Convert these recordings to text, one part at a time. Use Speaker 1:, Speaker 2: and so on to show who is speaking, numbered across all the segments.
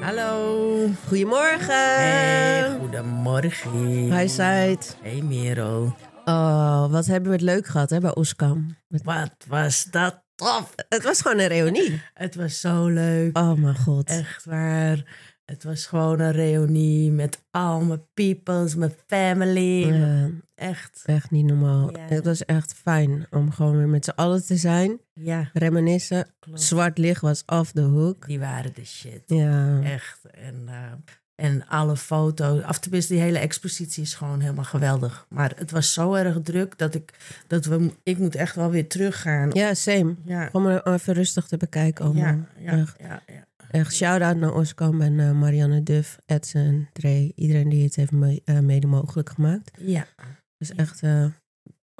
Speaker 1: Hallo.
Speaker 2: Goedemorgen.
Speaker 1: Hey, goedemorgen.
Speaker 2: Hi, Said.
Speaker 1: Hey, Merel.
Speaker 2: Oh, wat hebben we het leuk gehad hè, bij Oskam.
Speaker 1: Wat was dat tof?
Speaker 2: Het was gewoon een reunie.
Speaker 1: Het was zo leuk.
Speaker 2: Oh mijn god.
Speaker 1: Echt waar. Het was gewoon een reunie met al mijn peoples, mijn family.
Speaker 2: Ja,
Speaker 1: Echt.
Speaker 2: Eh, echt niet normaal.
Speaker 1: Ja.
Speaker 2: Het was echt fijn om gewoon weer met z'n allen te zijn.
Speaker 1: Ja,
Speaker 2: Reminiscen.
Speaker 1: klopt.
Speaker 2: Zwart licht was af de hoek.
Speaker 1: Die waren de shit.
Speaker 2: Ja.
Speaker 1: Echt. En, eh, en alle foto's. Af tenminste, die hele expositie is gewoon helemaal geweldig. Maar het was zo erg druk dat ik, dat we, ik moet echt wel weer teruggaan.
Speaker 2: ja, same.
Speaker 1: Ja, Oh,
Speaker 2: Om er even rustig te bekijken allemaal.
Speaker 1: ja, ja,
Speaker 2: Echt.
Speaker 1: ja, ja.
Speaker 2: Echt shout-out naar Oskam en eh, Marianne Duff, Edson, Dre. Iedereen die het heeft me- eh, mede mogelijk gemaakt.
Speaker 1: Ja,
Speaker 2: Dus echt eh,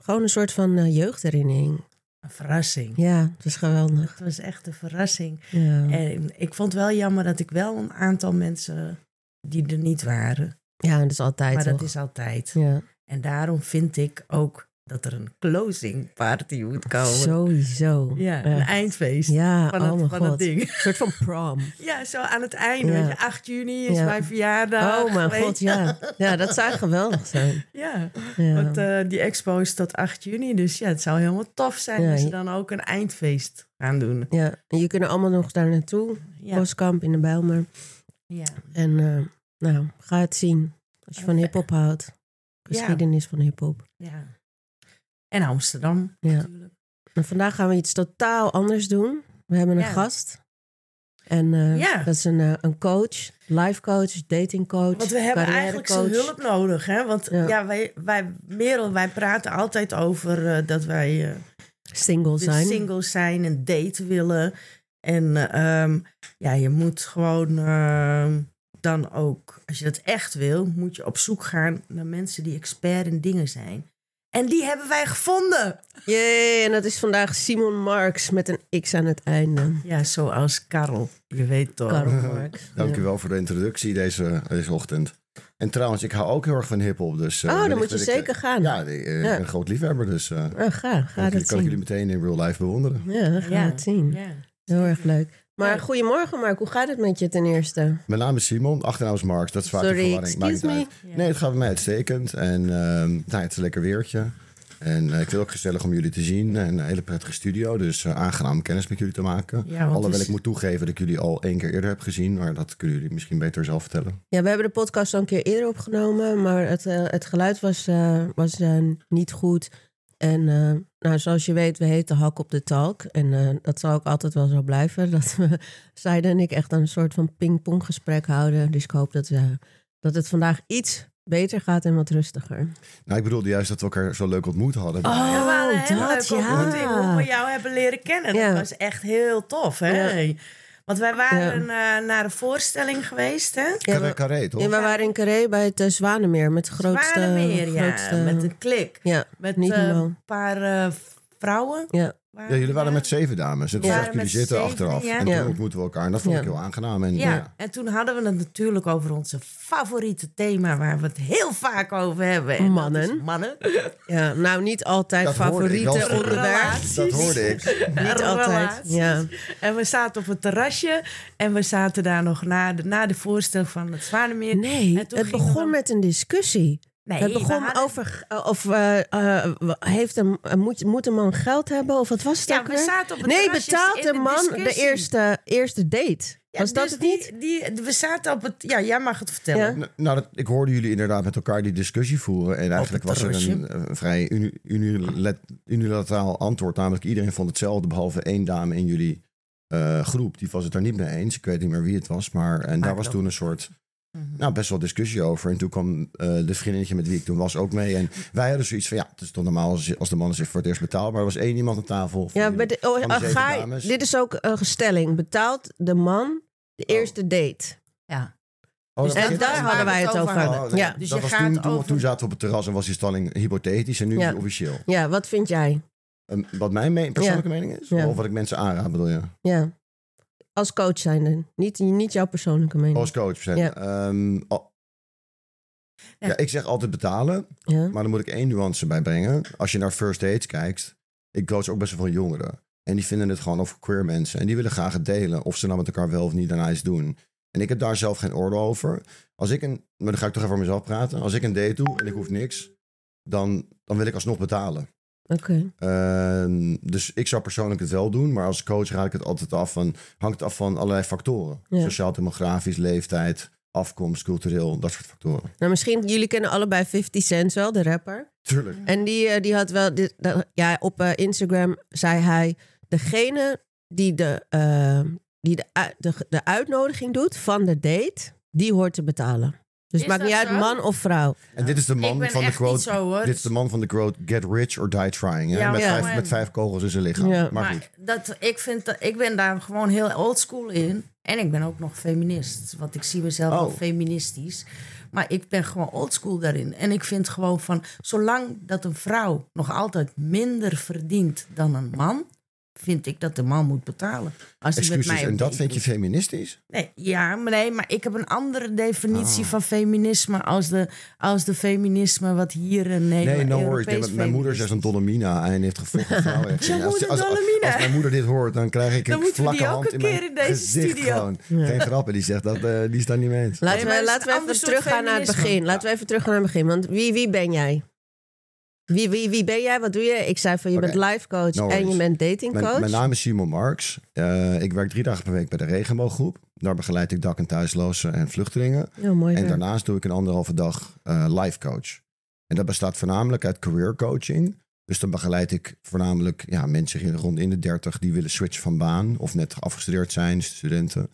Speaker 2: gewoon een soort van eh, jeugdherinnering.
Speaker 1: een verrassing.
Speaker 2: Ja, het was geweldig.
Speaker 1: Het was echt een verrassing.
Speaker 2: Ja.
Speaker 1: En ik vond het wel jammer dat ik wel een aantal mensen die er niet waren.
Speaker 2: Ja, dat is altijd
Speaker 1: Maar dat
Speaker 2: toch?
Speaker 1: is altijd.
Speaker 2: Ja,
Speaker 1: En daarom vind ik ook dat er een closing party moet komen.
Speaker 2: sowieso.
Speaker 1: Ja, een
Speaker 2: Echt.
Speaker 1: eindfeest
Speaker 2: Ja,
Speaker 1: van,
Speaker 2: oh
Speaker 1: het,
Speaker 2: mijn
Speaker 1: van
Speaker 2: god.
Speaker 1: het ding.
Speaker 2: Een soort van prom.
Speaker 1: Ja, zo aan het einde.
Speaker 2: Ja.
Speaker 1: weet je, 8 juni is
Speaker 2: Ja.
Speaker 1: mijn verjaardag.
Speaker 2: Oh mijn
Speaker 1: weet
Speaker 2: god,
Speaker 1: je.
Speaker 2: ja. Ja, dat zou geweldig zijn.
Speaker 1: Ja,
Speaker 2: Ja.
Speaker 1: want eh, die expo is tot 8 juni. Dus ja, het zou helemaal tof zijn
Speaker 2: Ja,
Speaker 1: als ze
Speaker 2: je-
Speaker 1: dan ook een eindfeest gaan doen.
Speaker 2: ja, en je kunnen allemaal nog daar naartoe.
Speaker 1: Ja,
Speaker 2: Boskamp in de Bijlmer.
Speaker 1: ja.
Speaker 2: En eh, nou, ga het zien. Als je van
Speaker 1: Oké.
Speaker 2: hiphop houdt. Geschiedenis van hiphop.
Speaker 1: ja. En Amsterdam
Speaker 2: Ja.
Speaker 1: natuurlijk.
Speaker 2: En vandaag gaan we iets totaal anders doen. We hebben een
Speaker 1: Ja.
Speaker 2: gast. En eh,
Speaker 1: Ja.
Speaker 2: dat is een, eh, een coach, life coach, dating coach,
Speaker 1: Want we hebben eigenlijk zijn hulp nodig. Hè? Want ja,
Speaker 2: Ja.
Speaker 1: wij, wij, Merel, wij praten altijd over eh, dat wij eh,
Speaker 2: Single
Speaker 1: dus
Speaker 2: zijn.
Speaker 1: single zijn en daten willen. En eh, ehm, ja, je moet gewoon ehm, dan ook, als je dat echt wil, moet je op zoek gaan naar mensen die expert in dingen zijn. En die hebben wij gevonden.
Speaker 2: Jee, en dat is vandaag Simon Marks met een X aan het einde.
Speaker 1: Ja, zoals Karel. Je weet toch.
Speaker 2: Karl Marx.
Speaker 3: Oh, Dank u wel voor de introductie deze, deze ochtend. En trouwens, ik hou ook heel erg van hiphop. Dus, eh,
Speaker 2: Oh, dan moet
Speaker 3: wellicht
Speaker 2: je
Speaker 3: dat ik, eh,
Speaker 2: zeker gaan.
Speaker 3: ja, nee, eh, ik
Speaker 2: Ja.
Speaker 3: ben een groot liefhebber, dus eh,
Speaker 2: Ah, ga, ga
Speaker 3: kan,
Speaker 2: dat
Speaker 3: ik- kan ik jullie
Speaker 2: zien.
Speaker 3: meteen in real life bewonderen.
Speaker 2: Ja, we gaan
Speaker 1: Ja.
Speaker 2: het zien.
Speaker 1: Ja.
Speaker 2: Heel erg leuk. Maar
Speaker 1: Leuk.
Speaker 2: goedemorgen Mark, hoe gaat het met je ten eerste?
Speaker 3: Mijn naam is Simon, achternaam is Marks. Dat is vaak
Speaker 2: Sorry,
Speaker 3: een verwarring. Maakt niet
Speaker 2: excuse me.
Speaker 3: uit. Nee, het gaat bij mij uitstekend. En ehm, nou, het is een lekker weertje. En eh, ik vind het ook gezellig om jullie te zien. En een hele prettige studio, dus eh, aangenaam om kennis met jullie te maken.
Speaker 1: Ja, want
Speaker 3: Alhoewel
Speaker 1: dus-
Speaker 3: ik moet toegeven dat ik jullie al één keer eerder heb gezien. Maar dat kunnen jullie misschien beter zelf vertellen.
Speaker 2: Ja, we hebben de podcast al een keer eerder opgenomen, maar het, eh, het geluid was, eh, was eh, niet goed. En eh, nou, zoals je weet, we heten Hak op de Talk. En eh, dat zal ook altijd wel zo blijven. Dat we, Saida en ik echt een soort van pingponggesprek houden. Dus ik hoop dat, eh, dat het vandaag iets beter gaat en wat rustiger.
Speaker 3: Nou, ik bedoelde juist dat we elkaar zo leuk ontmoet hadden.
Speaker 1: Oh,
Speaker 2: Oh, dat, ja.
Speaker 1: Hoe we jou hebben leren kennen.
Speaker 2: Ja.
Speaker 1: Dat was echt heel tof, hè? Want wij waren eh, naar een voorstelling geweest, hè?
Speaker 3: Carré, carré, toch?
Speaker 2: Ja, we waren in Carré bij het eh, Zwanemeer met het grootste...
Speaker 1: Zwanemeer, ja.
Speaker 2: grootste-
Speaker 1: Met een klik.
Speaker 2: ja,
Speaker 1: Met
Speaker 2: niet
Speaker 1: eh,
Speaker 2: normaal.
Speaker 1: een paar eh, vrouwen.
Speaker 2: Ja.
Speaker 3: Ja, jullie waren met
Speaker 1: z'n
Speaker 3: zeven dames. En toen
Speaker 1: Ja.
Speaker 3: zag ik jullie
Speaker 1: Met
Speaker 3: zitten
Speaker 1: zeven,
Speaker 3: achteraf.
Speaker 1: ja.
Speaker 3: En
Speaker 2: Ja.
Speaker 3: toen ontmoeten we elkaar. En dat vond
Speaker 2: Ja.
Speaker 3: ik heel aangenaam. En, eh,
Speaker 1: ja.
Speaker 3: ja.
Speaker 1: en toen hadden we het natuurlijk over onze favoriete thema, waar we het heel vaak over hebben. En dat
Speaker 2: Mannen.
Speaker 1: is Mannen.
Speaker 2: ja, nou niet altijd
Speaker 3: Dat hoorde ik wel
Speaker 2: favoriete
Speaker 3: stiekem.
Speaker 2: onderwerp.
Speaker 1: Relaties.
Speaker 3: Dat hoorde ik.
Speaker 2: Niet altijd.
Speaker 1: Relaties.
Speaker 2: Ja.
Speaker 1: En we zaten op het terrasje en we zaten daar nog na de, na de voorstelling van het Zwanemeer.
Speaker 2: Nee,
Speaker 1: En toen
Speaker 2: het
Speaker 1: gingen
Speaker 2: begon
Speaker 1: we-
Speaker 2: met een discussie.
Speaker 1: Nee,
Speaker 2: het begon
Speaker 1: we hadden-
Speaker 2: over eh, of eh, eh, heeft een, eh, moet, moet een man geld hebben of wat was het
Speaker 1: Ja,
Speaker 2: ook
Speaker 1: we
Speaker 2: weer?
Speaker 1: zaten op het
Speaker 2: Nee,
Speaker 1: terrasje
Speaker 2: betaalt
Speaker 1: in
Speaker 2: een
Speaker 1: de
Speaker 2: man de
Speaker 1: discussie.
Speaker 2: eerste, eerste date?
Speaker 1: Ja,
Speaker 2: was dat
Speaker 1: dus
Speaker 2: het
Speaker 1: die-
Speaker 2: niet?
Speaker 1: Die, we zaten op het... Ja, jij mag het vertellen.
Speaker 2: Ja.
Speaker 3: N- Nou, dat, ik hoorde jullie inderdaad met elkaar die discussie voeren. En eigenlijk
Speaker 1: het
Speaker 3: was er een eh, vrij uni- unilat- unilateraal antwoord. Namelijk, iedereen vond hetzelfde, behalve één dame in jullie eh, groep. Die was het daar niet mee eens. Ik weet niet meer wie het was. Maar, en daar was
Speaker 1: dat-
Speaker 3: toen een soort...
Speaker 1: Mhm.
Speaker 3: Nou, best wel discussie over. En toen kwam eh, de vriendinnetje met wie ik toen was ook mee. En wij hadden zoiets van, ja, het is toch normaal als, als de mannen zich voor het eerst betaalt. Maar er was één iemand aan tafel. van
Speaker 2: Ja,
Speaker 3: jullie.
Speaker 2: maar de- oh,
Speaker 3: van
Speaker 2: eh,
Speaker 3: zeven
Speaker 2: ga je-
Speaker 3: dames.
Speaker 2: dit is ook een stelling. Betaalt de man de
Speaker 3: Oh.
Speaker 2: eerste date?
Speaker 3: Oh,
Speaker 2: Dus
Speaker 3: dat
Speaker 2: en
Speaker 3: begint-
Speaker 2: daar
Speaker 1: waar
Speaker 2: hadden wij het over.
Speaker 3: Oh, nee,
Speaker 2: ja.
Speaker 1: Dus
Speaker 3: dat
Speaker 1: je
Speaker 3: was
Speaker 1: gaat
Speaker 3: toen, toen,
Speaker 1: over-
Speaker 3: toen zaten we op het terras en was die stelling hypothetisch en nu is
Speaker 2: Ja.
Speaker 3: die officieel.
Speaker 2: ja, wat vind jij?
Speaker 3: En Ehm, wat mijn me- persoonlijke mening is?
Speaker 2: Ja. Mhm.
Speaker 3: Of wat ik mensen aanraad, bedoel je?
Speaker 2: Ja. Als coach zijnde. Niet, niet jouw persoonlijke mening.
Speaker 3: Als coach. zijn.
Speaker 2: Ja.
Speaker 3: Ehm, al-
Speaker 1: Ja.
Speaker 3: ja, ik zeg altijd betalen.
Speaker 2: ja.
Speaker 3: Maar dan moet ik één nuance bij brengen. Als je naar first dates kijkt, ik coach ook best wel veel jongeren. En die vinden het gewoon over queer mensen. En die willen graag het delen. Of ze nou met elkaar wel of niet aan ijs doen. En ik heb daar zelf geen oordeel over. Als ik een, maar dan ga ik toch even voor mezelf praten. Als ik een date doe en ik hoef niks, dan, dan wil ik alsnog betalen.
Speaker 2: Oké.
Speaker 3: Ehm, dus ik zou persoonlijk het wel doen, maar als coach raad ik het altijd af van, hangt het af van allerlei factoren.
Speaker 2: Ja.
Speaker 3: Sociaal-demografisch, leeftijd, afkomst, cultureel, dat soort factoren.
Speaker 2: Nou, misschien, jullie kennen allebei 50 Cent wel, de rapper.
Speaker 3: Tuurlijk.
Speaker 2: En die, eh, die had wel, dit, dat- ja, op eh, Instagram zei hij, degene die, de, eh, die de, u- de, de uitnodiging doet van de date, die hoort te betalen. Dus
Speaker 1: Is
Speaker 2: maakt niet
Speaker 1: dat
Speaker 2: uit,
Speaker 1: zo?
Speaker 2: man of vrouw.
Speaker 3: En dit is de
Speaker 1: ik
Speaker 3: man
Speaker 1: ben
Speaker 3: van de
Speaker 1: echt
Speaker 3: quote.
Speaker 1: niet zo hoor.
Speaker 3: Dit is de man van de quote, get rich or die trying. Hè?
Speaker 1: Ja,
Speaker 3: met,
Speaker 2: ja.
Speaker 3: vijf, met vijf kogels in zijn lichaam.
Speaker 2: Ja.
Speaker 3: Maar,
Speaker 1: Maar
Speaker 3: goed.
Speaker 1: dat, ik, vind dat, ik ben daar gewoon heel oldschool in. En ik ben ook nog feminist. Want ik zie mezelf
Speaker 3: Oh.
Speaker 1: wel feministisch. Maar ik ben gewoon oldschool daarin. En ik vind gewoon van... Zolang dat een vrouw nog altijd minder verdient dan een man... vind ik dat de man moet betalen. Als hij met
Speaker 3: Excuses,
Speaker 1: mij
Speaker 3: en
Speaker 1: op
Speaker 3: dat
Speaker 1: date
Speaker 3: vind je
Speaker 1: moet.
Speaker 3: feministisch?
Speaker 1: Nee, ja, maar nee, maar ik heb een andere definitie
Speaker 3: Ah.
Speaker 1: van feminisme... als de, als de feminisme wat hier in Nederland...
Speaker 3: Nee, no worries.
Speaker 1: Europees
Speaker 3: Mijn- Mijn moeder is echt een dolomina en heeft gevochten vrouwen. Als,
Speaker 1: moeder
Speaker 3: als,
Speaker 1: dolomina.
Speaker 3: als mijn moeder dit hoort, dan krijg ik
Speaker 1: Dan
Speaker 3: een
Speaker 1: moeten we die
Speaker 3: vlakke
Speaker 1: ook
Speaker 3: hand
Speaker 1: een
Speaker 3: in mijn
Speaker 1: keer in deze
Speaker 3: gezicht
Speaker 1: studio.
Speaker 3: gewoon. Geen grappen, die zegt dat, eh, die is daar niet mee eens.
Speaker 2: Laten
Speaker 1: maar
Speaker 2: we,
Speaker 1: het is
Speaker 2: laten we
Speaker 1: een
Speaker 2: even
Speaker 1: ander soort
Speaker 2: teruggaan naar het
Speaker 1: feminisme.
Speaker 2: begin. Laten we even teruggaan naar het begin. Want wie, wie ben jij? Wie, wie, wie ben jij? Wat doe je? Ik zei van je
Speaker 3: Oké.
Speaker 2: bent life coach
Speaker 3: No
Speaker 2: en je
Speaker 3: worries.
Speaker 2: bent dating
Speaker 3: Mijn,
Speaker 2: coach.
Speaker 3: mijn naam is Simon Marks. Eh, ik werk drie dagen per week bij de Regenbooggroep. Daar begeleid ik dak- en thuislozen en vluchtelingen.
Speaker 2: Ja, mooi.
Speaker 3: En
Speaker 2: werk.
Speaker 3: daarnaast doe ik een anderhalve dag eh life coach. En dat bestaat voornamelijk uit career coaching. Dus dan begeleid ik voornamelijk ja, mensen hier rond in de 30 die willen switchen van baan of net afgestudeerd zijn, studenten.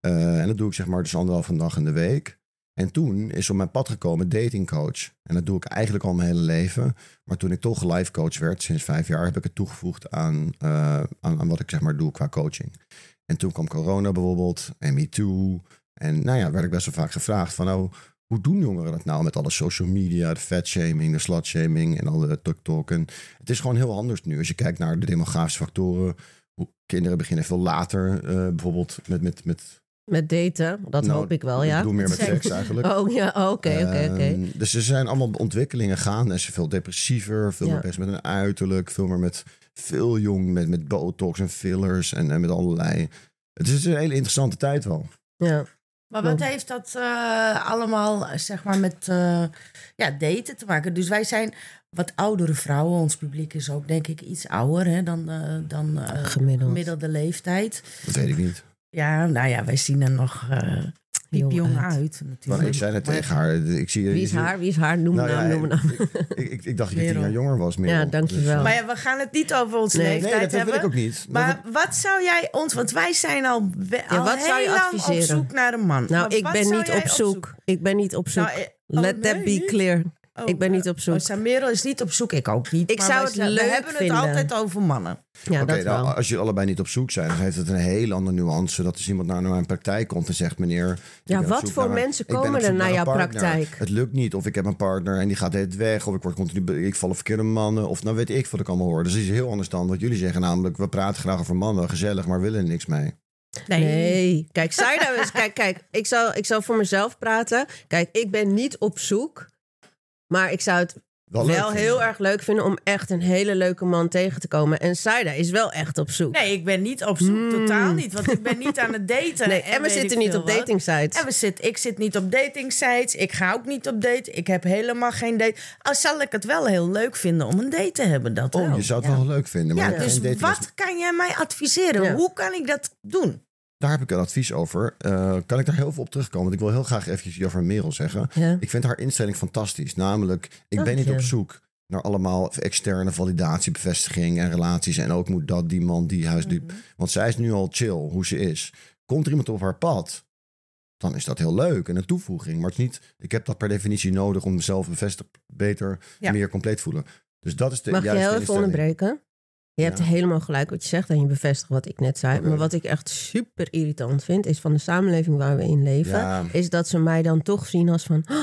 Speaker 3: Eh, en dat doe ik zeg maar dus anderhalve dag in de week. En toen is op mijn pad gekomen datingcoach. En dat doe ik eigenlijk al mijn hele leven. Maar toen ik toch life coach werd, sinds vijf jaar, heb ik het toegevoegd aan, eh, aan, aan wat ik zeg maar doe qua coaching. En toen kwam corona bijvoorbeeld E en me too. En nou ja, werd ik best wel vaak gevraagd van nou, hoe doen jongeren dat nou met alle social media, de fatshaming, de slutshaming en alle TikTok. En het is gewoon heel anders nu als je kijkt naar de demografische factoren. Hoe kinderen beginnen veel later, eh, bijvoorbeeld met, met, met...
Speaker 2: Met daten, dat
Speaker 3: nou,
Speaker 2: hoop ik wel, ja.
Speaker 3: Ik bedoel meer met
Speaker 1: Seks.
Speaker 3: seks eigenlijk.
Speaker 2: Oh ja, oh, oké, oké, oké.
Speaker 3: Ehm, Dus er zijn allemaal ontwikkelingen gaande. En ze veel depressiever, veel
Speaker 2: Ja.
Speaker 3: meer bezig met een uiterlijk, veel meer met veel jong, met, met botox en fillers en, en met allerlei. Het is een hele interessante tijd wel.
Speaker 2: Ja.
Speaker 1: Maar wat heeft dat eh, allemaal, eh, zeg maar, met eh, ja, daten te maken? Dus wij zijn wat oudere vrouwen. Ons publiek is ook, denk ik, iets ouder hè, dan, eh, dan eh,
Speaker 2: Gemiddeld.
Speaker 1: gemiddelde leeftijd.
Speaker 3: Dat weet ik niet.
Speaker 1: Ja, nou ja, wij zien er nog eh
Speaker 2: Jong
Speaker 1: jong
Speaker 2: uit.
Speaker 1: uit.
Speaker 3: Maar
Speaker 1: natuurlijk.
Speaker 3: ik zei net tegen haar. Ik zie,
Speaker 2: Mhm. Wie is haar? Wie is haar? Noem
Speaker 3: Nou
Speaker 2: naam,
Speaker 3: ja,
Speaker 2: noem naam.
Speaker 3: Ik, ik, ik dacht dat je tien
Speaker 1: Merel.
Speaker 3: jaar jonger was. Merel.
Speaker 2: Ja, dankjewel.
Speaker 3: eh,
Speaker 1: Maar ja, we gaan het niet over onze
Speaker 2: Nee.
Speaker 3: nee,
Speaker 1: leeftijd
Speaker 3: dat, dat wil
Speaker 1: hebben.
Speaker 3: ik ook niet.
Speaker 1: Maar wat zou jij ons, want wij zijn al, we- al
Speaker 2: wat zou je
Speaker 1: heel lang op
Speaker 2: adviseren?
Speaker 1: zoek naar een man.
Speaker 2: Nou,
Speaker 1: Maar
Speaker 2: ik
Speaker 1: wat
Speaker 2: ben
Speaker 1: zou
Speaker 2: niet
Speaker 1: jij
Speaker 2: op zoek. Ik ben niet op zoek.
Speaker 1: Nou, eh, oh,
Speaker 2: Let that
Speaker 1: nee,
Speaker 2: be
Speaker 1: niet?
Speaker 2: clear.
Speaker 1: Oh,
Speaker 2: ik ben
Speaker 1: eh,
Speaker 2: niet op zoek.
Speaker 1: Oh, Samero is niet op zoek, ik ook niet.
Speaker 2: Ik
Speaker 1: maar
Speaker 2: zou
Speaker 1: wij
Speaker 2: het
Speaker 1: zijn-
Speaker 2: leuk
Speaker 1: We hebben
Speaker 2: vinden.
Speaker 1: het altijd over mannen.
Speaker 2: ja,
Speaker 3: Oké,
Speaker 2: dat
Speaker 3: nou,
Speaker 2: wel.
Speaker 3: als jullie allebei niet op zoek zijn, dan heeft het een heel andere nuance. Dat als iemand naar mijn praktijk komt en zegt: Meneer. ik
Speaker 2: Ja,
Speaker 3: ben op
Speaker 2: wat
Speaker 3: zoek
Speaker 2: voor
Speaker 3: naar een-
Speaker 2: mensen
Speaker 3: ik ben op
Speaker 2: komen er
Speaker 3: zoek
Speaker 2: naar
Speaker 3: een
Speaker 2: jouw
Speaker 3: partner.
Speaker 2: praktijk?
Speaker 3: Het lukt niet. Of ik heb een partner en die gaat het weg. Of ik word continu. be- Ik val op verkeerde mannen. Of nou weet ik wat ik allemaal hoor. Dus het is heel anders dan wat jullie zeggen. Namelijk: We praten graag over mannen. Gezellig, maar willen er niks mee.
Speaker 2: Nee. Kijk, zij nou eens. Kijk, kijk ik, zal, ik zal voor mezelf praten. Kijk, ik ben niet op zoek. Maar ik zou het wel,
Speaker 3: leuk vinden.
Speaker 2: heel erg leuk vinden om echt een hele leuke man tegen te komen. En Saida is wel echt op zoek.
Speaker 1: Nee, ik ben niet op zoek, totaal niet. Want ik ben niet aan het daten.
Speaker 2: Hmm. Nee, en we
Speaker 1: weet
Speaker 2: zitten
Speaker 1: ik
Speaker 2: niet
Speaker 1: veel
Speaker 2: op
Speaker 1: wat.
Speaker 2: dating sites.
Speaker 1: En we zit, ik zit niet op dating sites. Ik ga ook niet op date. Ik heb helemaal geen date. Al zal ik het wel heel leuk vinden om een date te hebben. Dat
Speaker 3: Oh,
Speaker 1: wel.
Speaker 3: je zou het
Speaker 1: ja.
Speaker 3: wel leuk vinden. Maar
Speaker 1: Ja,
Speaker 3: geen
Speaker 1: dus
Speaker 3: dating is-
Speaker 1: wat kan jij mij adviseren?
Speaker 2: Ja.
Speaker 1: Hoe kan ik dat doen?
Speaker 3: Daar heb ik een advies over. Eh, kan ik daar heel veel op terugkomen? Want ik wil heel graag eventjes iets over Merel zeggen.
Speaker 2: Ja.
Speaker 3: Ik vind haar instelling fantastisch. Namelijk, ik
Speaker 2: Dank
Speaker 3: ben niet
Speaker 2: je.
Speaker 3: op zoek naar allemaal externe validatie, bevestiging en relaties. En ook moet dat, die man, die huis, die...
Speaker 2: Mhm.
Speaker 3: Want zij is nu al chill, hoe ze is. Komt er iemand op haar pad, dan is dat heel leuk en een toevoeging. Maar het is niet, ik heb dat per definitie nodig om mezelf bevestigd beter,
Speaker 1: Ja.
Speaker 3: meer compleet te voelen. Dus dat is de
Speaker 2: Mag je
Speaker 3: juiste
Speaker 2: heel even
Speaker 3: instelling.
Speaker 2: onderbreken? Je hebt
Speaker 3: Ja.
Speaker 2: helemaal gelijk wat je zegt en je bevestigt wat ik net zei.
Speaker 3: Oké.
Speaker 2: Maar wat ik echt super irritant vind, is van de samenleving waar we in leven,
Speaker 3: Ja.
Speaker 2: is dat ze mij dan toch zien als van, "Oh,